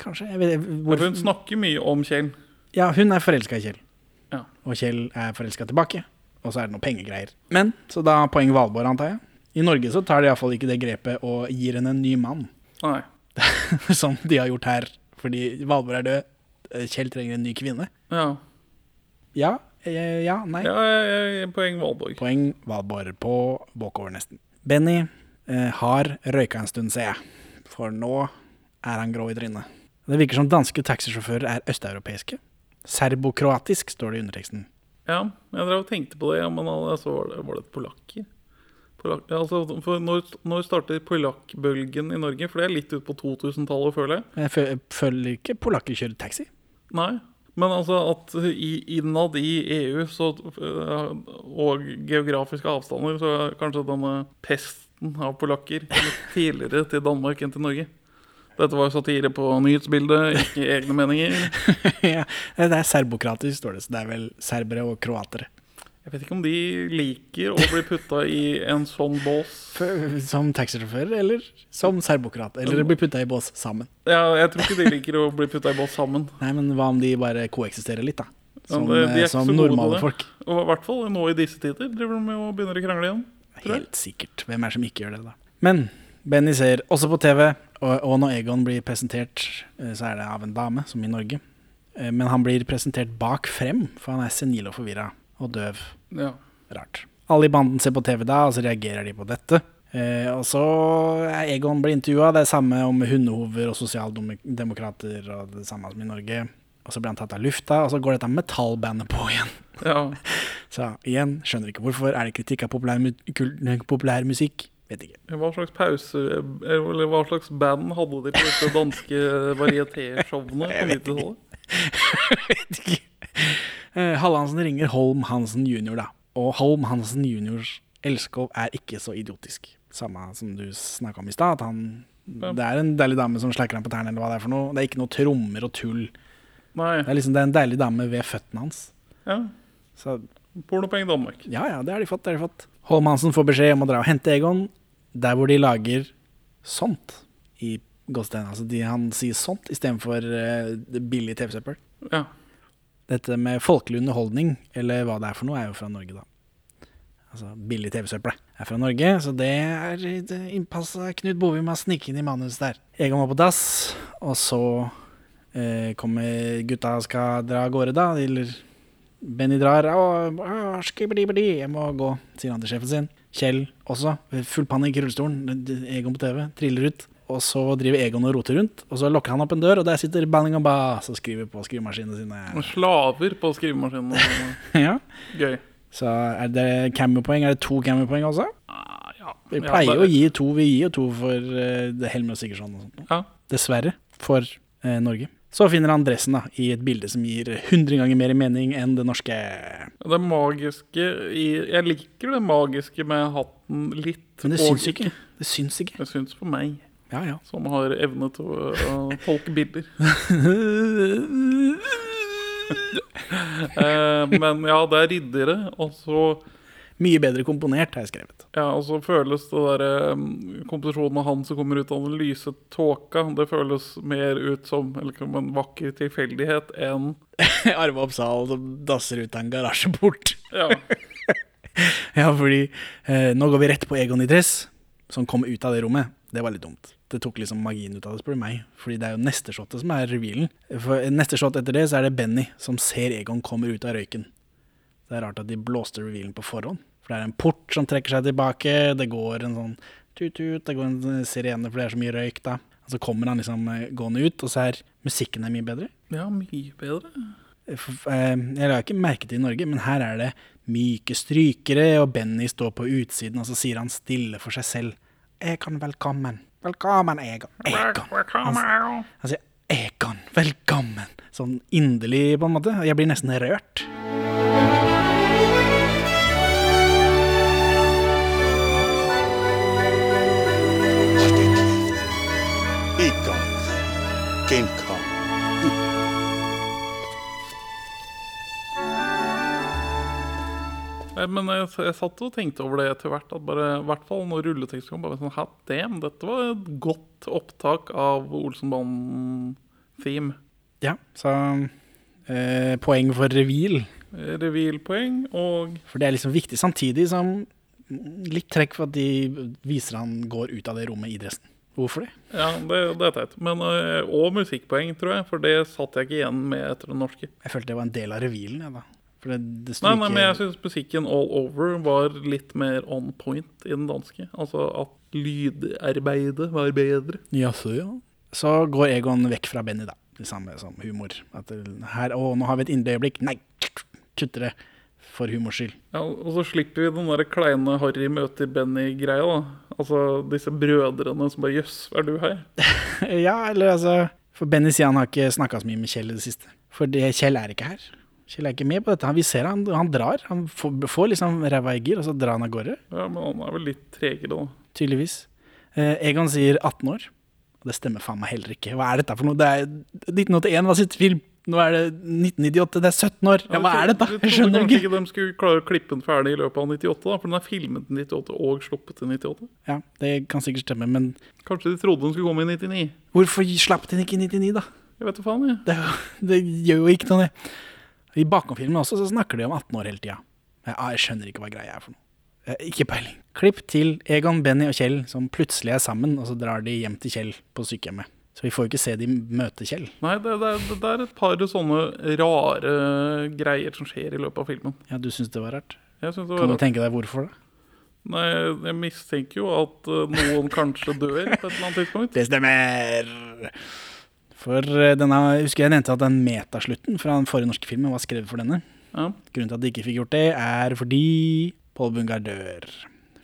Kanskje. Jeg vet, jeg- hvor, For Hun snakker mye om Kjell. ja, hun er forelska i Kjell. Ja. Og Kjell er forelska tilbake. Og så er det noen pengegreier. Men, så da er poeng Valborg, antar jeg. I Norge så tar de iallfall ikke det grepet og gir henne en ny mann, Nei. som de har gjort her. Fordi Valborg er død, Kjell trenger en ny kvinne. Ja. Ja, eh, ja, nei. ja jeg, jeg, poeng Valborg. Poeng Valborg på bakover, nesten. Benny eh, har røyka en stund, ser jeg. For nå er han grå i trynet. Det virker som danske taxisjåfører er østeuropeiske. Serbokroatisk, står det i underteksten. Ja, jeg drev og tenkte på det, ja, men altså, var, det, var det polakker? Polak, ja, altså, for når, når starter polakkbølgen i Norge? For det er litt ut på 2000-tallet, føler jeg. Men Jeg føl- jeg føler ikke polakker kjører taxi. Nei. Men altså at i, innad i EU så, øh, og geografiske avstander, så er kanskje denne pesten av polakker litt tidligere til Danmark enn til Norge. Dette var satire på nyhetsbildet, ikke egne meninger. ja, det er serbokratisk, står det. Så det er vel serbere og kroatere. Jeg vet ikke om de liker å bli putta i en sånn bås. F- Som taxisjåfører eller som serbokrat. Eller blir putta i bås sammen. Ja, jeg tror ikke de liker å bli putta i bås sammen. Nei, men hva om de bare koeksisterer litt, da? Ja, Som, det- de er eh, ikke som så gode til normale det. folk. Og i hvert fall nå i disse tider driver de jo og begynner å krangle igjen. Helt sikkert. Hvem er det som ikke gjør det, da? Men Benny ser også på TV, og, og når Egon blir presentert, eh, så er det av en dame, som i Norge. Eh, Men han blir presentert bak frem, for han er senil og forvirra og døv. Ja. Rart. Alle i banden ser på TV da, og så reagerer de på dette. Eh, og så er Egon blir intervjua. Det er samme om hundehover og sosialdemokrater og det samme som i Norge. Og så blir han tatt av lufta, og så går dette metallbandet på igjen. ja. Så igjen, skjønner ikke hvorfor. Er det kritikk av populær, mu kul- populær musikk? Vet ikke. Hva slags pause Eller hva slags band hadde de på disse danske varietéshowene? på 90-tallet? Vet ikke. Eh, Hallandsen ringer Holm Hansen jr., da. Og Holm Hansen jr.s elskov er ikke så idiotisk. Samme som du snakka om i stad, at han Det er en deilig dame som slakker ham på tærne, eller hva det er for noe. Det er ikke noe trommer og tull. Det Nei. er liksom det er en deilig dame ved føttene hans. Ja. Så Pornopenger Danmark. ja ja, det har de fått. Det har de fått. Holm Hansen får beskjed om å dra og hente Egon der hvor de lager sånt i Godstein. Altså de, han sier sånt istedenfor uh, billig TV-søppel. Ja. Dette med folkelig underholdning, eller hva det er for noe, er jo fra Norge, da. Altså billig TV-søppel er fra Norge, så det er det innpassa Knut Bovim har sniket inn i manuset der. Egon var på dass, og så eh, kommer gutta og skal dra av gårde, da. Eller Benny drar. Og, jeg må gå, sier han til sjefen sin. Kjell også. Full panikk i rullestolen. Egon på TV triller ut. Og så driver Egon og roter rundt, og så lukker han opp en dør, og der sitter Banning og Bass og skriver på skrivemaskinene sine. Og Slaver på skrivemaskinen. og sånn. Ja. Gøy. Så er det cammerpoeng? Er det to cammerpoeng også? Ah, ja. Vi Ja, pleier det- å gi to. Vi gir jo to for eh, det Helmer og Sigurdsson og sånt. Ja. Dessverre for eh, Norge. Så finner han dressen da, i et bilde som gir 100 ganger mer mening enn det norske. Det magiske i Jeg liker det magiske med hatten litt. Men det og syns ikke. Det syns ikke. Det syns på meg, Ja, ja. som har evne til å, å tolke bilder. Eh, men ja, det er riddere, og så, Mye bedre komponert, har jeg skrevet. ja, og så føles det derre eh, komposisjonen av han som kommer ut av den lyse tåka, det føles mer ut som eller, som en vakker tilfeldighet enn Arve Oppsal som dasser ut av en garasjeport. Ja. Ja, fordi eh, nå går vi rett på Egon i dress, som kom ut av det rommet. Det var litt dumt. Det tok liksom magien ut av det, spør du meg. Fordi det er jo neste shotet som er revealen. For neste shot etter det, så er det Benny som ser Egon kommer ut av røyken. Det er rart at de blåste revealen på forhånd. For det er en port som trekker seg tilbake, det går en sånn tut-tut, det går en sirene, for det er så mye røyk da. Og så kommer han liksom eh, gående ut, og så er musikken er mye bedre. ja, mye bedre. F- eh, Jeg la ikke merke til i Norge, men her er det myke strykere, og Benny står på utsiden, og så sier han stille for seg selv Egon, velkommen. Velkommen, Egon. Egon. Han, s- han sier Egon, velkommen. Sånn inderlig, på en måte. Jeg blir nesten rørt. Egon. Genkom. Eh, Men jeg, jeg satt og tenkte over det etter hvert. At bare, I hvert fall når rulleteksten kom. Bare sånn, Hot damn, dette var et godt opptak av Olsenbanen-theme. Ja, så eh, poeng for reveal. Revilpoeng og For det er liksom viktig, samtidig som mm, litt trekk for at de viser han går ut av det rommet i dressen. Hvorfor det? Ja, det, det er teit. Men, eh, og musikkpoeng, tror jeg. For det satt jeg ikke igjen med etter den norske. Jeg følte det var en del av revealen, jeg, da. For det, det Nei, stryker- nei, men jeg syns musikken all over var litt mer on point i den danske. Altså at lydarbeidet var bedre. Jaså, ja. Så går Egon vekk fra Benny, da. Det samme som humor. At det, her, å, nå har vi et indre øyeblikk. Nei, kutter det. For humors skyld. Ja, og så slipper vi den der kleine Harry møter Benny-greia. da. Altså disse brødrene som bare Jøss, er du her? Ja, eller altså For Benny sier han har ikke snakka så mye med Kjell i det siste. For det, Kjell er ikke her. Kjell er ikke med på dette. Han, vi ser han, han drar. Han får, får liksom ræva i gir, og så drar han av gårde. Ja, Men han er vel litt tregere, da. Tydeligvis. Eh, Egon sier 18 år. Og det stemmer faen meg heller ikke. Hva er dette for noe? Det er oh 1981 var siste film. Nå er det 1998. Det er 17 år. Ja, hva er dette? Jeg Jeg trodde skjønner kanskje ikke. ikke de skulle klare å klippe den ferdig i løpet av 98, da, for den er filmet i 98 og sluppet i 98. Ja, det kan sikkert stemme, men Kanskje de trodde den skulle komme i 99. hvorfor slapp den ikke i 99, da? Jeg vet da faen, jeg. Det, er jo- det gjør jo ikke noe, det. I bakomfilmen også så snakker de om 18 år hele tida. Jeg, ah, jeg skjønner ikke hva greia er for noe. Eh, Ikke peiling. Klipp til Egon, Benny og Kjell som plutselig er sammen, og så drar de hjem til Kjell på sykehjemmet. Så vi får jo ikke se de møte Kjell. Nei, det, det, er- det er et par sånne rare greier som skjer i løpet av filmen. Ja, Du syns det var rart? Jeg synes det Kan var du rart. tenke deg hvorfor, da? Nei, jeg mistenker jo at eh, noen kanskje dør på et eller annet tidspunkt. Det stemmer! For eh, denne, jeg husker jeg nevnte at den metaslutten fra den forrige norske filmen var skrevet for denne. Ja. Grunnen til at de ikke fikk gjort det, er fordi Paul Bungar dør.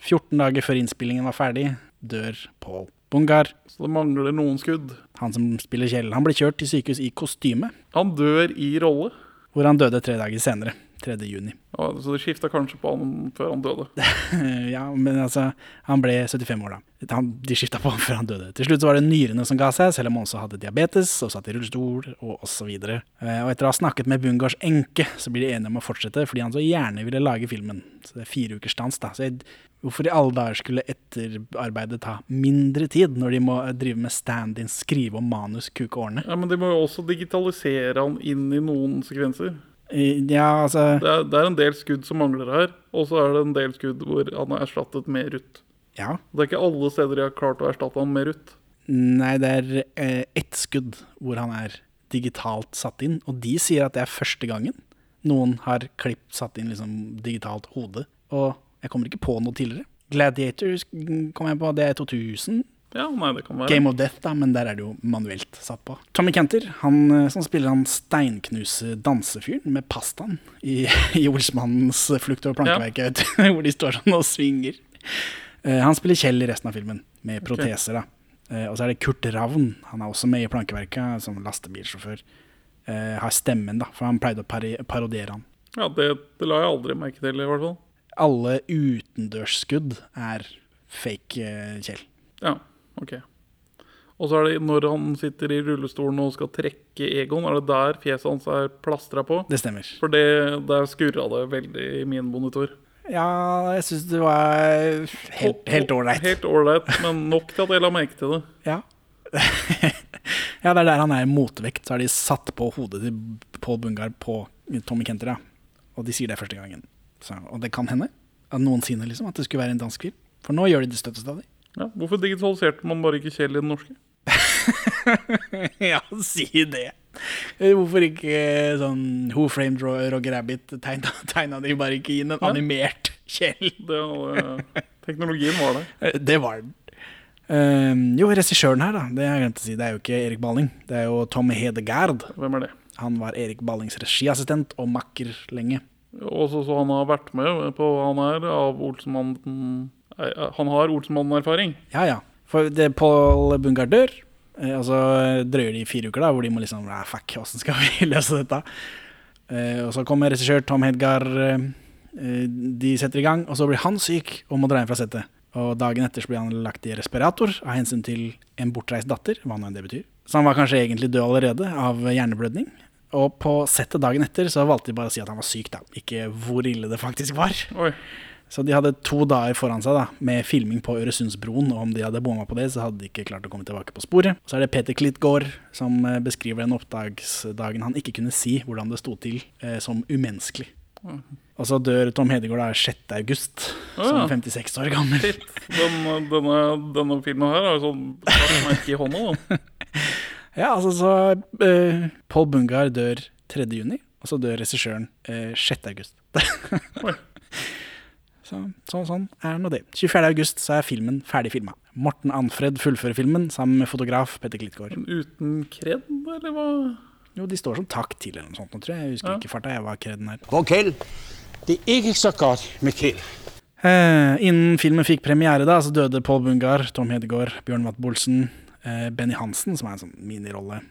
14 dager før innspillingen var ferdig, dør Paul Bungar. Så det mangler noen skudd. Han som spiller Kjell, han ble kjørt til sykehus i kostyme, Han dør i rolle. hvor han døde tre dager senere. 3. juni. Ja, så det skifta kanskje på han før han døde. Eh, Ja, men altså, han ble 75 år da. Han, de skifta på ham før han døde. Til slutt så var det nyrene som ga seg, selv om han også hadde diabetes og satt i rullestol og osv. Og etter å ha snakket med Bungars enke, så blir de enige om å fortsette fordi han så gjerne ville lage filmen. Så det er fire ukers stans, da. Så jeg, hvorfor i alle dager skulle etterarbeidet ta mindre tid, når de må drive med stand-in, skrive om manus, kuke årene? Ja, Men de må jo også digitalisere han inn i noen sekvenser. Eh, Ja, altså Det er, det er en del skudd som mangler her, og så er det en del skudd hvor han er erstattet med Ruth. Ja. Det er ikke alle steder de har klart å erstatte han med Ruth. Nei, det er eh, ett skudd hvor han er digitalt satt inn, og de sier at det er første gangen noen har klipp satt inn liksom, digitalt hode. Og jeg kommer ikke på noe tidligere. Gladiator sk- kom jeg på, det er 2000. Ja, nei, det kan være. Game of Death, da, men der er det jo manuelt satt på. Tommy Canter, han eh, som spiller han steinknuse dansefyren med pastaen i, i Olsmannens flukt over plankeverket, vet du, hvor de står sånn og svinger. Eh, Han spiller Kjell i resten av filmen, med proteser, da. Eh, Og så er det Kurt Ravn, han er også med i plankeverket eh, som lastebilsjåfør. Eh, Har stemmen, da, for han pleide å pari- parodiere han. Ja, det, det la jeg aldri merke til, i hvert fall. Alle utendørsskudd er fake eh, Kjell. Ja, ok. Og så er det når han sitter i rullestolen og skal trekke Egon, er det der fjeset hans er plastra på? Det stemmer. For det, der skurra det veldig i min monitor. Ja, jeg syns det var helt helt ålreit. Helt ålreit, men nok til at jeg la merke til det. ja. ja, det er der han er i motvekt. Så har de satt på hodet til Pål Bungar på Tommy Kenter, ja. Og de sier det første gangen. Så, og det kan hende at noensinne liksom, at det skulle være en dansk film. For nå gjør de det støtt og stadig. Ja, hvorfor digitaliserte man bare ikke Kjell i den norske? ja, si det. Eh, Hvorfor ikke sånn Who Framed Ro- Roger Rabbit? Tegna, tegna de bare ikke inn en animert Kjell? Det, eh, teknologien var der. Eh, Det var den. Ehm, jo, regissøren her, da. Det har jeg glemt å si. Det er jo ikke Erik Balling. Det er jo Tom Hedegaard. Hvem er det? Han var Erik Ballings regiassistent og makker lenge. Og så så han har vært med på han her av Olsenmannen Nei, Han har Olsenmannen-erfaring. Ja, ja. For det Paul Bungar dør, eh, og så drøyer de fire uker, da, hvor de må liksom Nei, fuck, åssen skal vi løse dette? Eh, og så kommer regissør Tom Hedgar, eh, eh, de setter i gang, og så blir han syk og må dra hjem fra settet. Og dagen etter så blir han lagt i respirator av hensyn til en bortreist datter, hva nå enn det betyr. Så han var kanskje egentlig død allerede av hjerneblødning. Og på settet dagen etter så valgte de bare å si at han var syk, da. Ikke hvor ille det faktisk var. Oi. Så de hadde to dager foran seg da, med filming på Øresundsbroen, og om de hadde bomma på det, så hadde de ikke klart å komme tilbake på sporet. Så er det Peter Klitgaard som eh, beskriver den oppdagsdagen han ikke kunne si hvordan det sto til, eh, som umenneskelig. Og så dør Tom Hedegaard da 6. august, som 56 år gammel. Shit. Denne, denne, denne filmen her er jo sånn satt merke i hånda, da. Ja, altså så eh, Paul Bungar dør 3. juni, og så dør regissøren eh, 6. august. så, så sånn er nå det. 24. august så er filmen ferdig filma. Morten Anfred fullfører filmen sammen med fotograf Petter Klitgaard. Mm. Uten kred, eller hva? Jo, de står som takk til eller noe sånt, nå tror jeg. Jeg husker ikke farta, jeg var ikke den her. Det er ikke så godt med Kjell. Eh, innen filmen fikk premiere, da, så døde Paul Bungar, Tom Hedegaard, Bjørn Watt-Bolsen, eh, Benny Hansen, som er en sånn minirolle,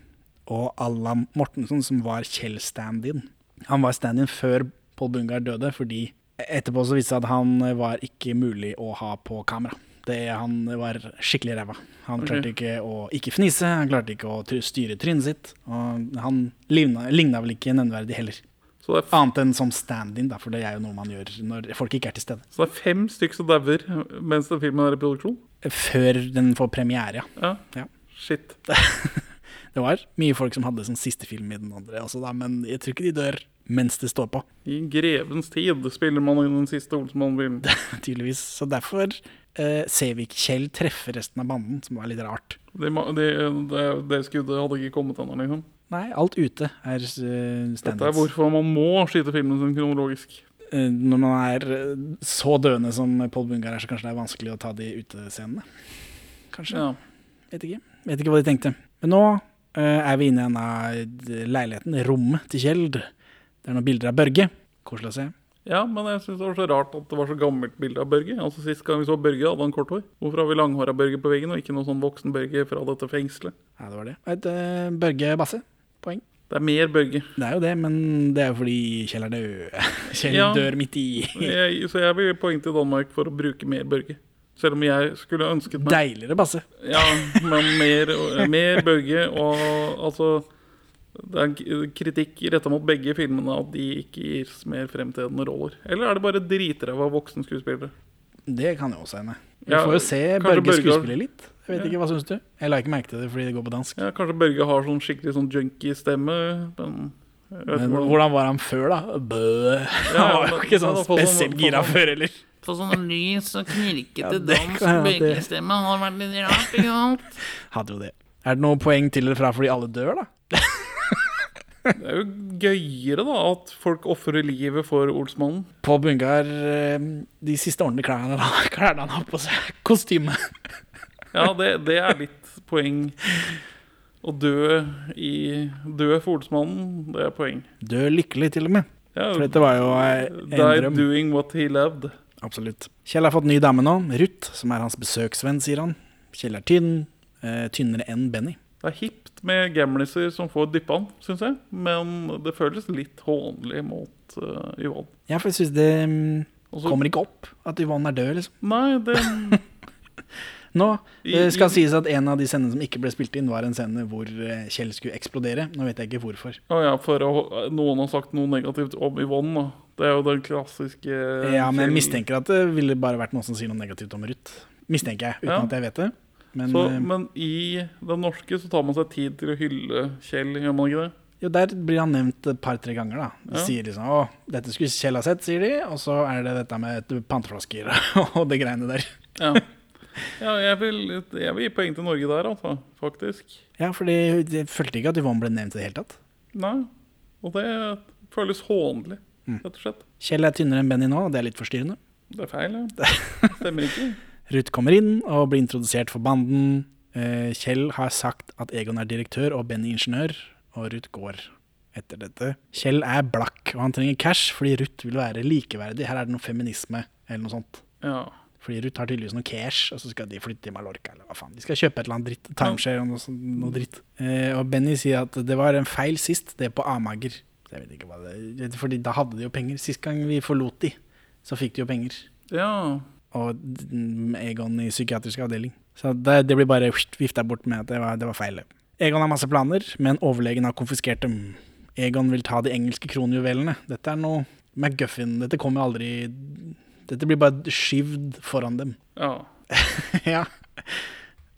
og Allan Mortensen, som var Kjell stand-in. Han var stand-in før Paul Bungar døde, fordi etterpå så viste det seg at han eh, var ikke mulig å ha på kamera. Det, han var skikkelig ræva. Han klarte ikke å ikke fnise, han klarte ikke å try- styre trynet sitt, og han ligna, ligna vel ikke nevneverdig heller. Så det er, Annet enn som stand-in, da, for det er jo noe man gjør når folk ikke er til stede. f- så det er fem stykker som dauer mens den filmen er i produksjon? Før den får premiere, ja. ja. Ja. Shit. Det var mye folk som hadde som siste film i den andre også, da, men jeg tror ikke de dør mens det står på, I grevens tid spiller man i den siste Olsenmann-filmen. tydeligvis. Så derfor eh, ser vi ikke Kjell treffe resten av banden, som var litt rart. Det, ma- det, det, det skuddet hadde ikke kommet ennå, liksom. Nei, alt ute er uh, Det er standards. hvorfor man må skyte filmen sin kronologisk. Eh, når man er eh, så døende som Pål Bungar er, så kanskje det er vanskelig å ta de utescenene. Kanskje. Ja. Vet ikke. Vet ikke hva de tenkte. Men nå eh, er vi inne i en av leiligheten, rommet til Kjell. Det er noen bilder av Børge. Koselig å se. ja, men jeg syns det var så rart at det var så gammelt bilde av Børge. Altså Sist gang vi så Børge, hadde han kort hår. Hvorfor har vi langhåra Børge på veggen, og ikke noe sånn voksen Børge fra dette fengselet? Ja, det var det. Et, eh, Børge Basse. Poeng. Det er mer Børge. Det er jo det, men det er jo fordi Kjell er død. Kjell Ja. dør midt i. Jeg, så jeg vil gi poeng til Danmark for å bruke mer Børge. Selv om jeg skulle ønsket meg Deiligere Basse. Ja, men mer, mer Børge og altså det er en k- kritikk retta mot begge filmene at de ikke gir mer fremtredende roller. Eller er det bare dritræva voksenskuespillere? Det kan jo også hende. Vi Ja, får jo se kanskje Børge Børge har- skuespille litt. Jeg vet ikke, Hva syns du? Jeg la ikke merke til det fordi det går på dansk. Ja, kanskje Børge har sånn skikkelig sånn junkie-stemme. Den, jeg vet ikke Men hvordan- hvordan var han før, da? Bø. Han var jo men- ikke sånn men han får sånn- spesielt gira får sånn- før heller. På sånn lys og knirkete det kan dansk hende at det- bøkestemme hadde vært litt rart, ikke sant? Hadde jo det. Er det noen poeng til eller fra fordi alle dør, da? det er jo gøyere da at folk ofrer livet for Olsmannen. Pål Bungar, eh, de siste ordentlige klærne han- klærne han har på seg, kostyme Ja, det, det er litt poeng. Å dø, i, dø for Olsmannen, det er poeng. Dør lykkelig, til og med. Ja, For dette var jo eh, en Die drøm. doing what he loved. Absolutt. Kjell har fått ny dame nå, Ruth, som er hans besøksvenn, sier han. Kjell er tynn, eh, tynnere enn Benny. Det er hipt med gamliser som får dyppa han, syns jeg. Men det føles litt hånlig mot eh, Yvonne. Ja, for jeg syns det mm, Og så- kommer ikke opp at Yvonne er død, liksom. Nei, det Nå eh, I- skal i- sies at en av de scenene som ikke ble spilt inn, var en scene hvor eh, Kjell skulle eksplodere. Nå vet jeg ikke hvorfor. Å ja, for å, noen har sagt noe negativt om Yvonne, da. Det er jo den klassiske Ja, men jeg mistenker at det ville bare vært noen som sier noe negativt om Ruth. Mistenker jeg, uten Ja. at jeg vet det. Men, så, eh, Men i den norske så tar man seg tid til å hylle Kjell, gjør man ikke det? Jo, der blir han nevnt et par-tre ganger, da. De sier liksom 'Å, dette skulle Kjell ha sett', sier de. Og så er det dette med panteflasker og det greiene der. Ja. ja jeg, vil, jeg vil gi poeng til Norge der, altså. Faktisk. Ja, for det- jeg følte ikke at Yvonne ble nevnt i det hele tatt. Nei. Og det føles hånlig, rett og slett. Kjell er tynnere enn Benny nå, og det er litt forstyrrende. Det er feil, ja. Stemmer ikke. Ruth kommer inn og blir introdusert for banden. Eh, Kjell har sagt at Egon er direktør og Benny ingeniør, og Ruth går etter dette. Kjell er blakk, og han trenger cash fordi Ruth vil være likeverdig. Her er det noe feminisme eller noe sånt. Ja. Fordi Ruth har tydeligvis noe cash, og så skal de flytte til Mallorca eller hva faen. De skal kjøpe et eller annet dritt. Timeshare og noe, sånt- noe dritt. Eh, og Benny sier at det var en feil sist, det på Amager. Så jeg vet ikke hva det er. Fordi da hadde de jo penger. Sist gang vi forlot de, så fikk de jo penger. ja. Og mm, Egon i psykiatrisk avdeling. Så det, det blir bare vifta bort med at det var, det var feil. Egon har masse planer, men overlegen har konfiskert dem. Egon vil ta de engelske kronjuvelene. Dette er noe McGuffin. Dette kommer jo aldri Dette blir bare skyvd foran dem. Ja. ja.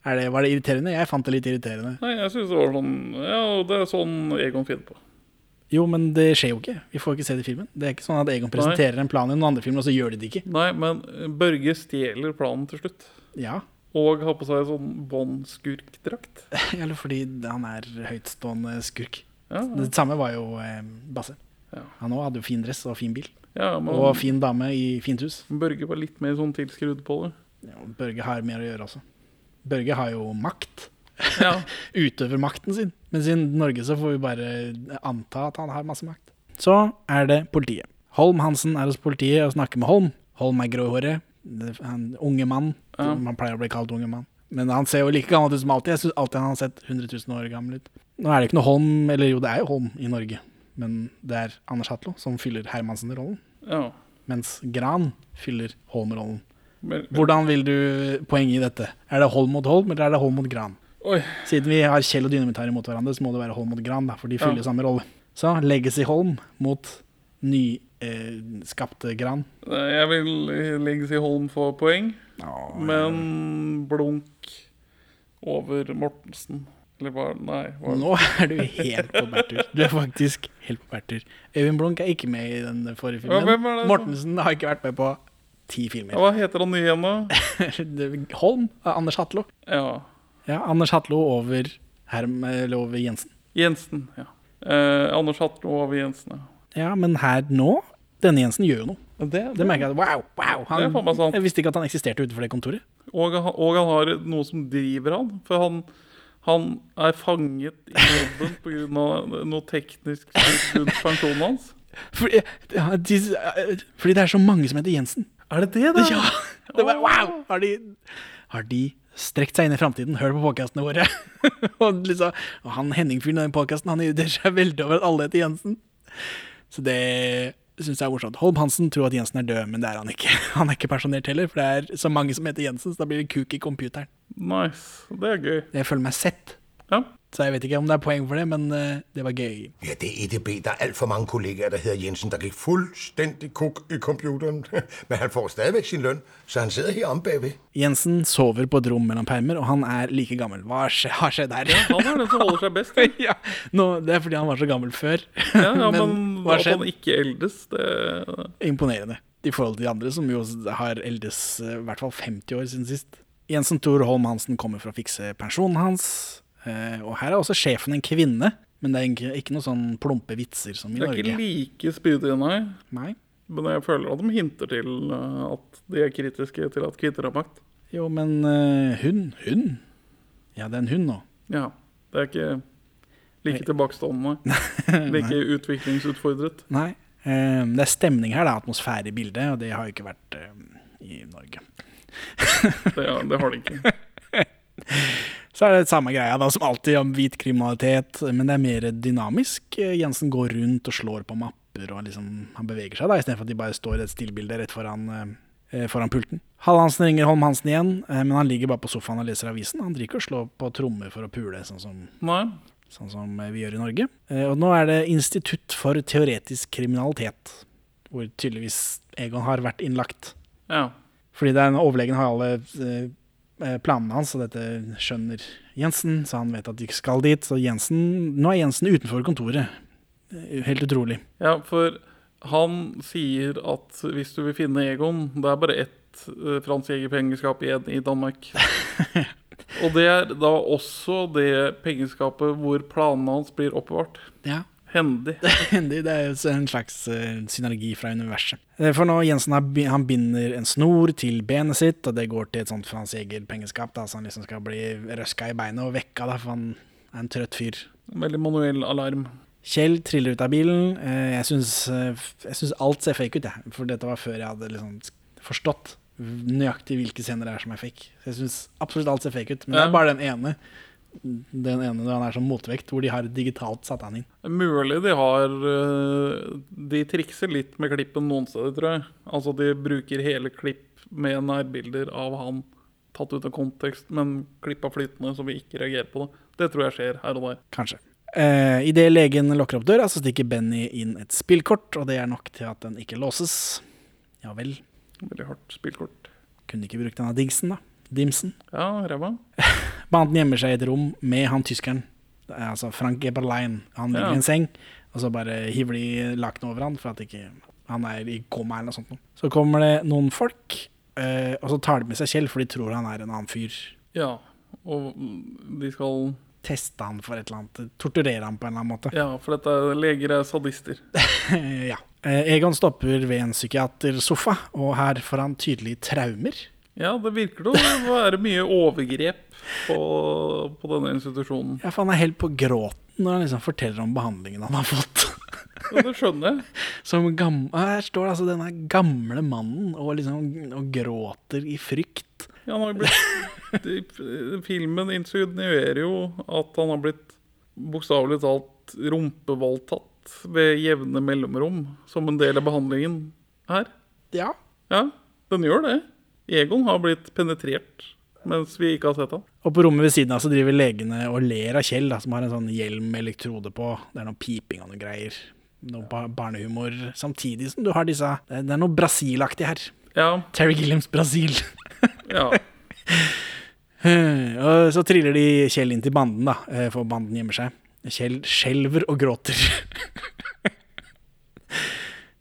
Er det, var det irriterende? Jeg fant det litt irriterende. Nei, jeg syns det var sånn Ja, det er sånn Egon finner på. Jo, men det skjer jo ikke. Vi får ikke se det i filmen. Det er ikke sånn at Egon presenterer en plan i noen andre filmer, og så gjør de det ikke. Nei, men Børge stjeler planen til slutt. Ja, Og har på seg sånn båndskurkdrakt. Eller fordi han er høytstående skurk. Ja, Det samme var jo eh, Basse. Ja. Han òg hadde jo fin dress og fin bil. ja, Og men fin dame i fint hus. Børge var litt mer sånn tilskrudd på det. Ja, og Børge har mer å gjøre også. Børge har jo makt. Ja. Utøver makten sin. Mens i Norge så får vi bare anta at han har masse makt. Så er det politiet. Holm Hansen er hos politiet og snakker med Holm. Holm er gråhåret. Det- Han, unge mann. Man pleier å bli kalt unge mann. Men han ser jo like gammel ut som alltid. Jeg synes alltid han har sett 100 000 år gammel ut. Nå er det ikke noe Holm, eller jo, det er jo Holm i Norge. Men det er Anders Hatlo som fyller Hermansen-rollen. ja. Mens Gran fyller Holm-rollen. Men, Hvordan vil du poenget i dette? Er det Holm mot Holm, eller er det Holm mot Gran? oi. Siden vi har Kjell og Dynemetar imot hverandre, så må det være Holm mot Gran, da, for de fyller Ja. jo samme rolle. Så Legacy Holm mot nyskapte eh, skapte Gran. Eh, Jeg vil Legacy Holm få poeng, men blunk over Mortensen. Eller hva Nei. Hva, Nå er du helt på bærtur. Du er faktisk helt på bærtur. Øyvind Blunk er ikke med i den forrige Ja, filmen. hvem er det som- Mortensen har ikke vært med på ti filmer. hva heter han nye igjen, da? Det- Holm av Anders Hatlo. Ja. Ja, Anders Hatlo over, Herm, eller over Jensen. Jensen. ja. Eh, Anders Hatlo over Jensen, ja. Ja, men her nå Denne Jensen gjør jo noe. Det merker jeg. Wow, wow. Det er faen meg Han, sant. jeg visste ikke at han eksisterte utenfor det kontoret. Og, han- og han har noe som driver han. For han, han er fanget i jobben pga. noe teknisk styrt rundt pensjonen hans. Fordi, ja, de, eh, fordi det er så mange som heter Jensen. Er det det, da? Ja, det var, wow! Har de, har de strekt seg inn i framtiden, hørt på podkastene våre? og liksom, og han Henning-fyren i den podkasten irriterer seg veldig over at alle heter Jensen. Så det syns jeg er morsomt. Holm Hansen tror at Jensen er død, men det er han ikke. Han er ikke personert heller, for det er så mange som heter Jensen, så da blir det kuk i computeren. Nice. Det er gøy. Jeg føler meg sett, Ja. så jeg vet ikke om det er poeng for det, men eh, det var gøy. Ja, det er EDB. Der er alt for mange kollegaer, der hedder Jensen, der gik fuldstændig kuk i computeren. Men han får stadigvæk sin løn, så han sidder her om bagved. Jensen sover på et rom mellom permer, og han er like gammel. Hva skje- har skjedd her? Han er den som holder seg best. Ja, ja, nå, det er fordi han var så gammel før. ja, men, hva har at han skjedd? ikke eldes, det Imponerende. I forhold til de andre, som jo har eldes eh, i hvert fall 50 år siden sist. Jensen Thor Holm Hansen kommer for å fikse pensjonen hans. eh, Og her er også sjefen en kvinne, men det er ikke, ikke noe sånn plumpe vitser som i det er ikke Norge. like spydig, nei. Nei. Men jeg føler at de hinter til eh, at de er kritiske til at kvinner har makt. Jo, men eh, hun Hun? Ja, det er en hund nå. Ja. Det er ikke like tilbakestående. Like utviklingsutfordret. Nei. eh, Det er stemning her, det er atmosfære i bildet, og det har jo ikke vært eh, i Norge. Det, det har de ikke. Så er det samme greia da, som alltid om hvit kriminalitet, men det er mer dynamisk. Jensen går rundt og slår på mapper, og liksom, han beveger seg da, istedenfor at de bare står i et stillbilde rett foran, eh, foran pulten. Hallandsen ringer Holm Hansen igjen, eh, men han ligger bare på sofaen og leser avisen. Han driver ikke og slår på trommer for å pule, sånn som, Nei. sånn som vi gjør i Norge. Eh, Og nå er det Institutt for teoretisk kriminalitet, hvor tydeligvis Egon har vært innlagt. Ja. Fordi det er en overlegen har alle eh, planene hans, og dette skjønner Jensen, så han vet at de skal dit. Så Jensen, nå er Jensen utenfor kontoret. Eh, Helt utrolig. Ja, for han sier at hvis du vil finne Egon Det er bare ett uh, Frans Jæger pengeskap igjen i Danmark. Og det er da også det pengeskapet hvor planene hans blir oppbevart. Ja. Hendig. Det det er jo en slags eh, synergi fra universet. Eh, For nå Jensen har, bi- han binder en snor til benet sitt, og det går til et sånt Frans Jæger-pengeskap, da, så han liksom skal bli røska i beinet og vekka, da, for han er en trøtt fyr. Veldig manuell alarm. Kjell triller ut av bilen. Eh, Jeg syns, eh, f- jeg syns alt ser fake ut, jeg. For dette var før jeg hadde liksom forstått nøyaktig hvilke scener det er som er fake. Så jeg syns absolutt alt ser fake ut. Men det Ja. er bare den ene. Den ene når han er som motvekt, hvor de har digitalt satt han inn. Mulig de har eh, De trikser litt med klippen noen steder, tror jeg. Altså de bruker hele klipp med nærbilder av han tatt ut av kontekst, men klippa flytende, så vi ikke reagerer på det. Det tror jeg skjer her og der. Kanskje. Eh, Idet legen lukker opp døra, så stikker Benny inn et spillkort, og det er nok til at den ikke låses. Ja vel. Veldig hardt spillkort. Kunne ikke brukt denne dingsen, da. Dimsen. Ja, ræva. Banden gjemmer seg i et rom med han tyskeren, Det er altså Frank Eberlein. Han ligger Ja. i en seng, og så bare hiver de lakenet over han for at ikke han er i koma eller noe sånt. noe. Så kommer det noen folk, eh, og så tar de med seg Kjell, for de tror han er en annen fyr. Ja, og mm, de skal Teste han for et eller annet, torturere han på en eller annen måte. Ja, for dette leger er sadister. Eh, ja. Eh, Egon stopper ved en psykiatersofa, og her får han tydelig traumer. Ja, det virker det å være mye overgrep på, på denne institusjonen. Ja, for han er helt på gråten når han liksom forteller om behandlingen han har fått. Ja, det skjønner jeg. Som gam- her står altså denne gamle mannen og, liksom, og gråter i frykt. Ja, han har jo blitt, de- filmen insinuerer jo at han har blitt bokstavelig talt rumpevoldtatt ved jevne mellomrom som en del av behandlingen her. Ja. Ja, den gjør det. Egon har blitt penetrert mens vi ikke har sett han. Og på rommet ved siden av så driver legene og ler av Kjell, da, som har en sånn hjelm med elektrode på. Det er noe piping og noe greier. Noe ba barnehumor. Samtidig som du har disse eh, Det er noe Brasil-aktig her. Ja, Terry Gilliams Brasil. ja. Eh, Og så triller de Kjell inn til banden, da, eh, for banden gjemmer seg. Kjell skjelver og gråter.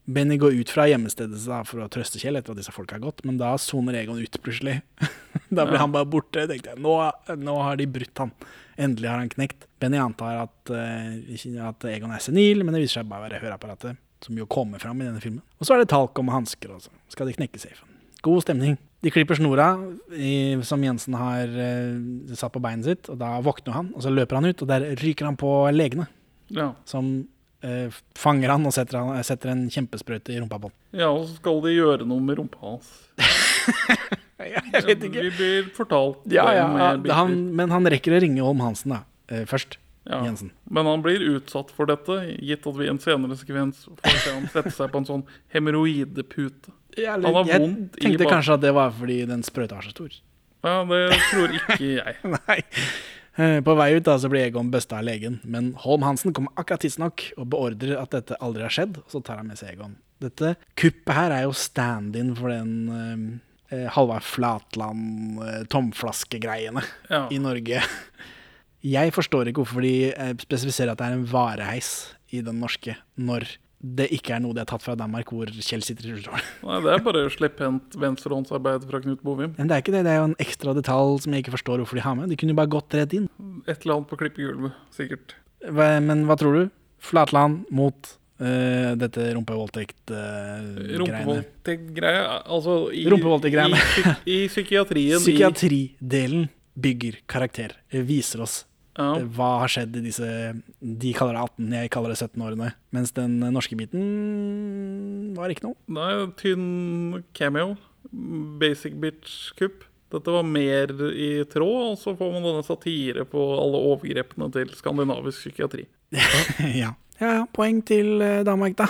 Benny går ut fra gjemmestedet sitt da, for å trøste Kjell etter at disse folka har gått, men da soner Egon ut plutselig. da blir han bare borte. tenkte jeg. Nå, nå har de brutt han. Endelig har han knekt. Benny antar at, eh, at Egon er senil, men det viser seg bare å være høreapparatet, som jo kommer fram i denne filmen. Og så er det talk om hansker, altså. Skal de knekke safen? God stemning. De klipper snora i, som Jensen har eh, satt på beinet sitt, og da våkner han, og så løper han ut, og der ryker han på legene, ja. som eh, fanger han og setter, han, setter en kjempesprøyte i rumpa på han. Ja, og så skal de gjøre noe med rumpa hans. Jeg vet ikke. Vi blir fortalt Ja, det ja, med bilder. han, men han rekker å ringe Holm Hansen da, eh, først. ja. Jensen. Men han blir utsatt for dette, gitt at vi i en senere sekvens får se han sette seg på en sånn hemoroidepute. eller- Han har jeg vondt i tenkte bak- kanskje at det var fordi den sprøyta var så stor. Ja, det tror ikke jeg. Nei. Eh, På vei ut da, så blir Egon busta av legen, men Holm Hansen kommer akkurat tidsnok og beordrer at dette aldri har skjedd, og så tar han med seg Egon. Dette kuppet her er jo stand-in for den eh, eh, Halvard Flatland, eh, tomflaskegreiene Ja. i Norge. Jeg forstår ikke hvorfor de eh, spesifiserer at det er en vareheis i den norske, når det ikke er noe de har tatt fra Danmark, hvor Kjell sitter i rullestol. Nei, det er bare slepphendt venstrehåndsarbeid fra Knut Bovim. Men det er ikke det, det er jo en ekstra detalj som jeg ikke forstår hvorfor de har med. De kunne jo bare gått rett inn. Et eller annet på klippegulvet, sikkert. Hva, men hva tror du? Flatland mot eh, dette eh, rumpevoldtekt-greiene. Rumpevoldtektgreia altså i, Rumpevoldtektgreiene. i, psyk- i psykiatrien i, Psykiatridelen bygger karakter. eh, Viser oss ja, eh, hva har skjedd i disse De kaller det 18, jeg kaller det 17-årene. Mens den eh, norske biten var ikke noe. Nei, tynn cameo. Basic bitch-kupp. Dette var mer i tråd, og så får man denne satire på alle overgrepene til skandinavisk psykiatri. ja. ja, ja. Poeng til eh, Danmark, da.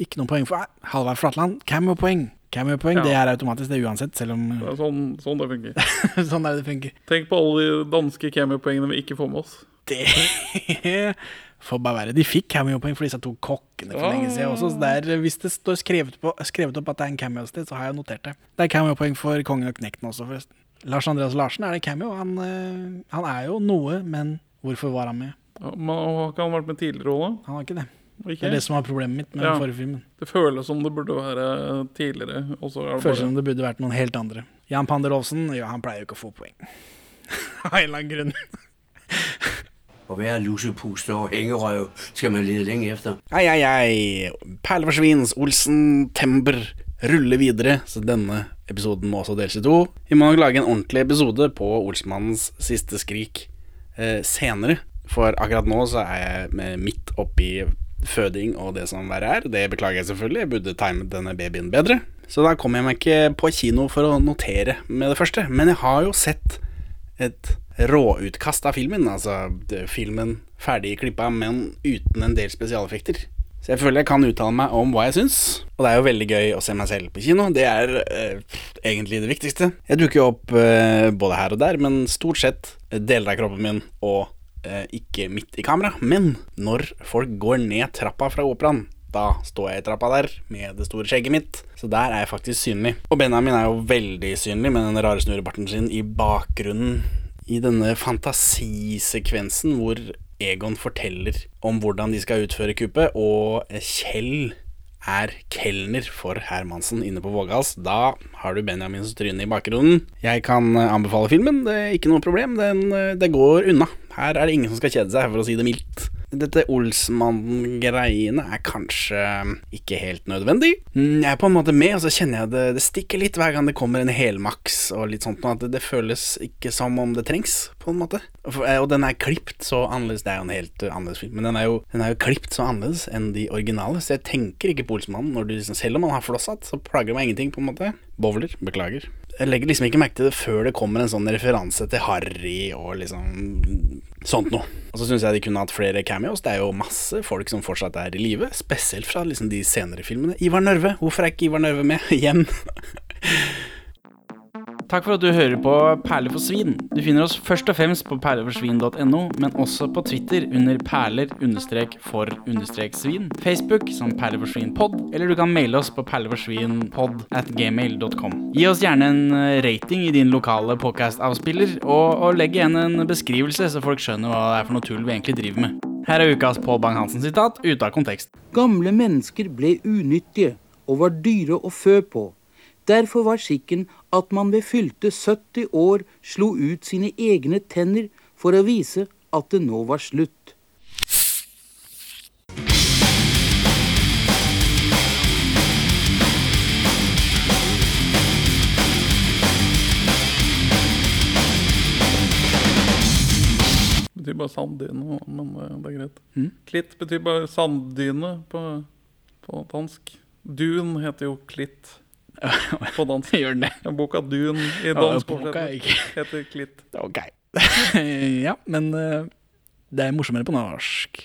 Ikke noe poeng for eh, Halvard Flatland. Cameo-poeng. Cameo-poeng, Ja. Det er automatisk, det uansett. Selv om Det er sånn, sånn det funker. Sånn er det det funker. Tenk på alle de danske cameo-poengene vi ikke får med oss. Det får bare være. De fikk cameo-poeng for disse to kokkene for lenge siden også. Så der, hvis det står skrevet, på, skrevet opp at det er en cameo et sted, så har jeg notert det. Det er cameo-poeng for Kongen og Knekten også, forresten. Lars Andreas Larsen er det cameo. Han, eh, han er jo noe, men hvorfor var han med? Ja, men Har ikke han vært med tidligere òg, Han var ikke det. da? Det Ikke? er det som var problemet mitt med Ja. den forrige filmen. Det føles som det burde være tidligere. Og så er det Føles bare som det burde vært noen helt andre. Jan Panderovsen, ja, han pleier jo ikke å få poeng. Av en eller annen grunn. Å være lusepuste og hengerøv skal man lede lenge efter. Ei, ei, ei. Perleforsvins, Olsen, Tember ruller videre, så denne episoden må også deles i to. Vi må nok lage en ordentlig episode på Olsmannens siste skrik eh, senere. For akkurat nå så er jeg med- midt oppi føding og det som verre er. Det beklager jeg selvfølgelig, jeg burde timet denne babyen bedre. Så da kom jeg meg ikke på kino for å notere med det første. Men jeg har jo sett et råutkast av filmen. Altså det- filmen ferdig klippa, men uten en del spesialeffekter. Så jeg føler jeg kan uttale meg om hva jeg syns. Og det er jo veldig gøy å se meg selv på kino. Det er eh, egentlig det viktigste. Jeg dukker jo opp eh, både her og der, men stort sett deler av kroppen min og eh, ikke midt i kamera, men når folk går ned trappa fra operaen. Da står jeg i trappa der med det store skjegget mitt, så der er jeg faktisk synlig. Og Benjamin er jo veldig synlig med den rare snurrebarten sin i bakgrunnen i denne fantasisekvensen hvor Egon forteller om hvordan de skal utføre kuppet, og Kjell er kelner for Hermansen inne på Vågals. Da har du Benjamins tryne i bakgrunnen. Jeg kan eh, anbefale filmen, det er ikke noe problem. Den, eh, det går unna. Her er det ingen som skal kjede seg, for å si det mildt. Dette Olsmann-greiene er kanskje eh, ikke helt nødvendig. Mm, Jeg er på en måte med, og så kjenner jeg det, det stikker litt hver gang det kommer en helmaks og litt sånt, noe, at det, det føles ikke som om det trengs, på en måte. For- eh, Og den er klipt så annerledes, det er jo en helt eh, annerledes film, men den er jo, den er jo klipt så annerledes enn de originale, så jeg tenker ikke på Olsmannen når du liksom, selv om han har flossatt, så plager det meg ingenting, på en måte. Bowler, beklager. Jeg legger liksom ikke merke til det før det kommer en sånn referanse til Harry og liksom sånt noe. Og så syns jeg de kunne hatt flere cameos. Det er jo masse folk som fortsatt er i live, spesielt fra liksom de senere filmene. Ivar Nørve, hvorfor er ikke Ivar Nørve med igjen? Takk for at du hører på Perler for svin. Du finner oss først og fremst på perleforsvin.no, men også på Twitter under perler-for-svin, Facebook som perleforsvinpod, eller du kan maile oss på perleforsvinpod at gmail.com. Gi oss gjerne en eh, rating i din lokale podcast-avspiller, og, og legg igjen en beskrivelse, så folk skjønner hva det er for noe tull vi egentlig driver med. Her er ukas Pål Bang-Hansen-sitat ute av kontekst. Gamle mennesker ble unyttige og var dyre å fø på. Derfor var skikken at man ved fylte 70 år slo ut sine egne tenner for å vise at det nå var slutt. Det betyr bare sanddyne, men eh, det er greit. Mm. Klitt betyr bare sanddyne på, på dansk. Dun heter jo klitt på dansk. Gjør det. Boka Dun i Ja, dansk boka er oversettelse heter klitt. Ok. ja, men eh, det er morsommere på norsk.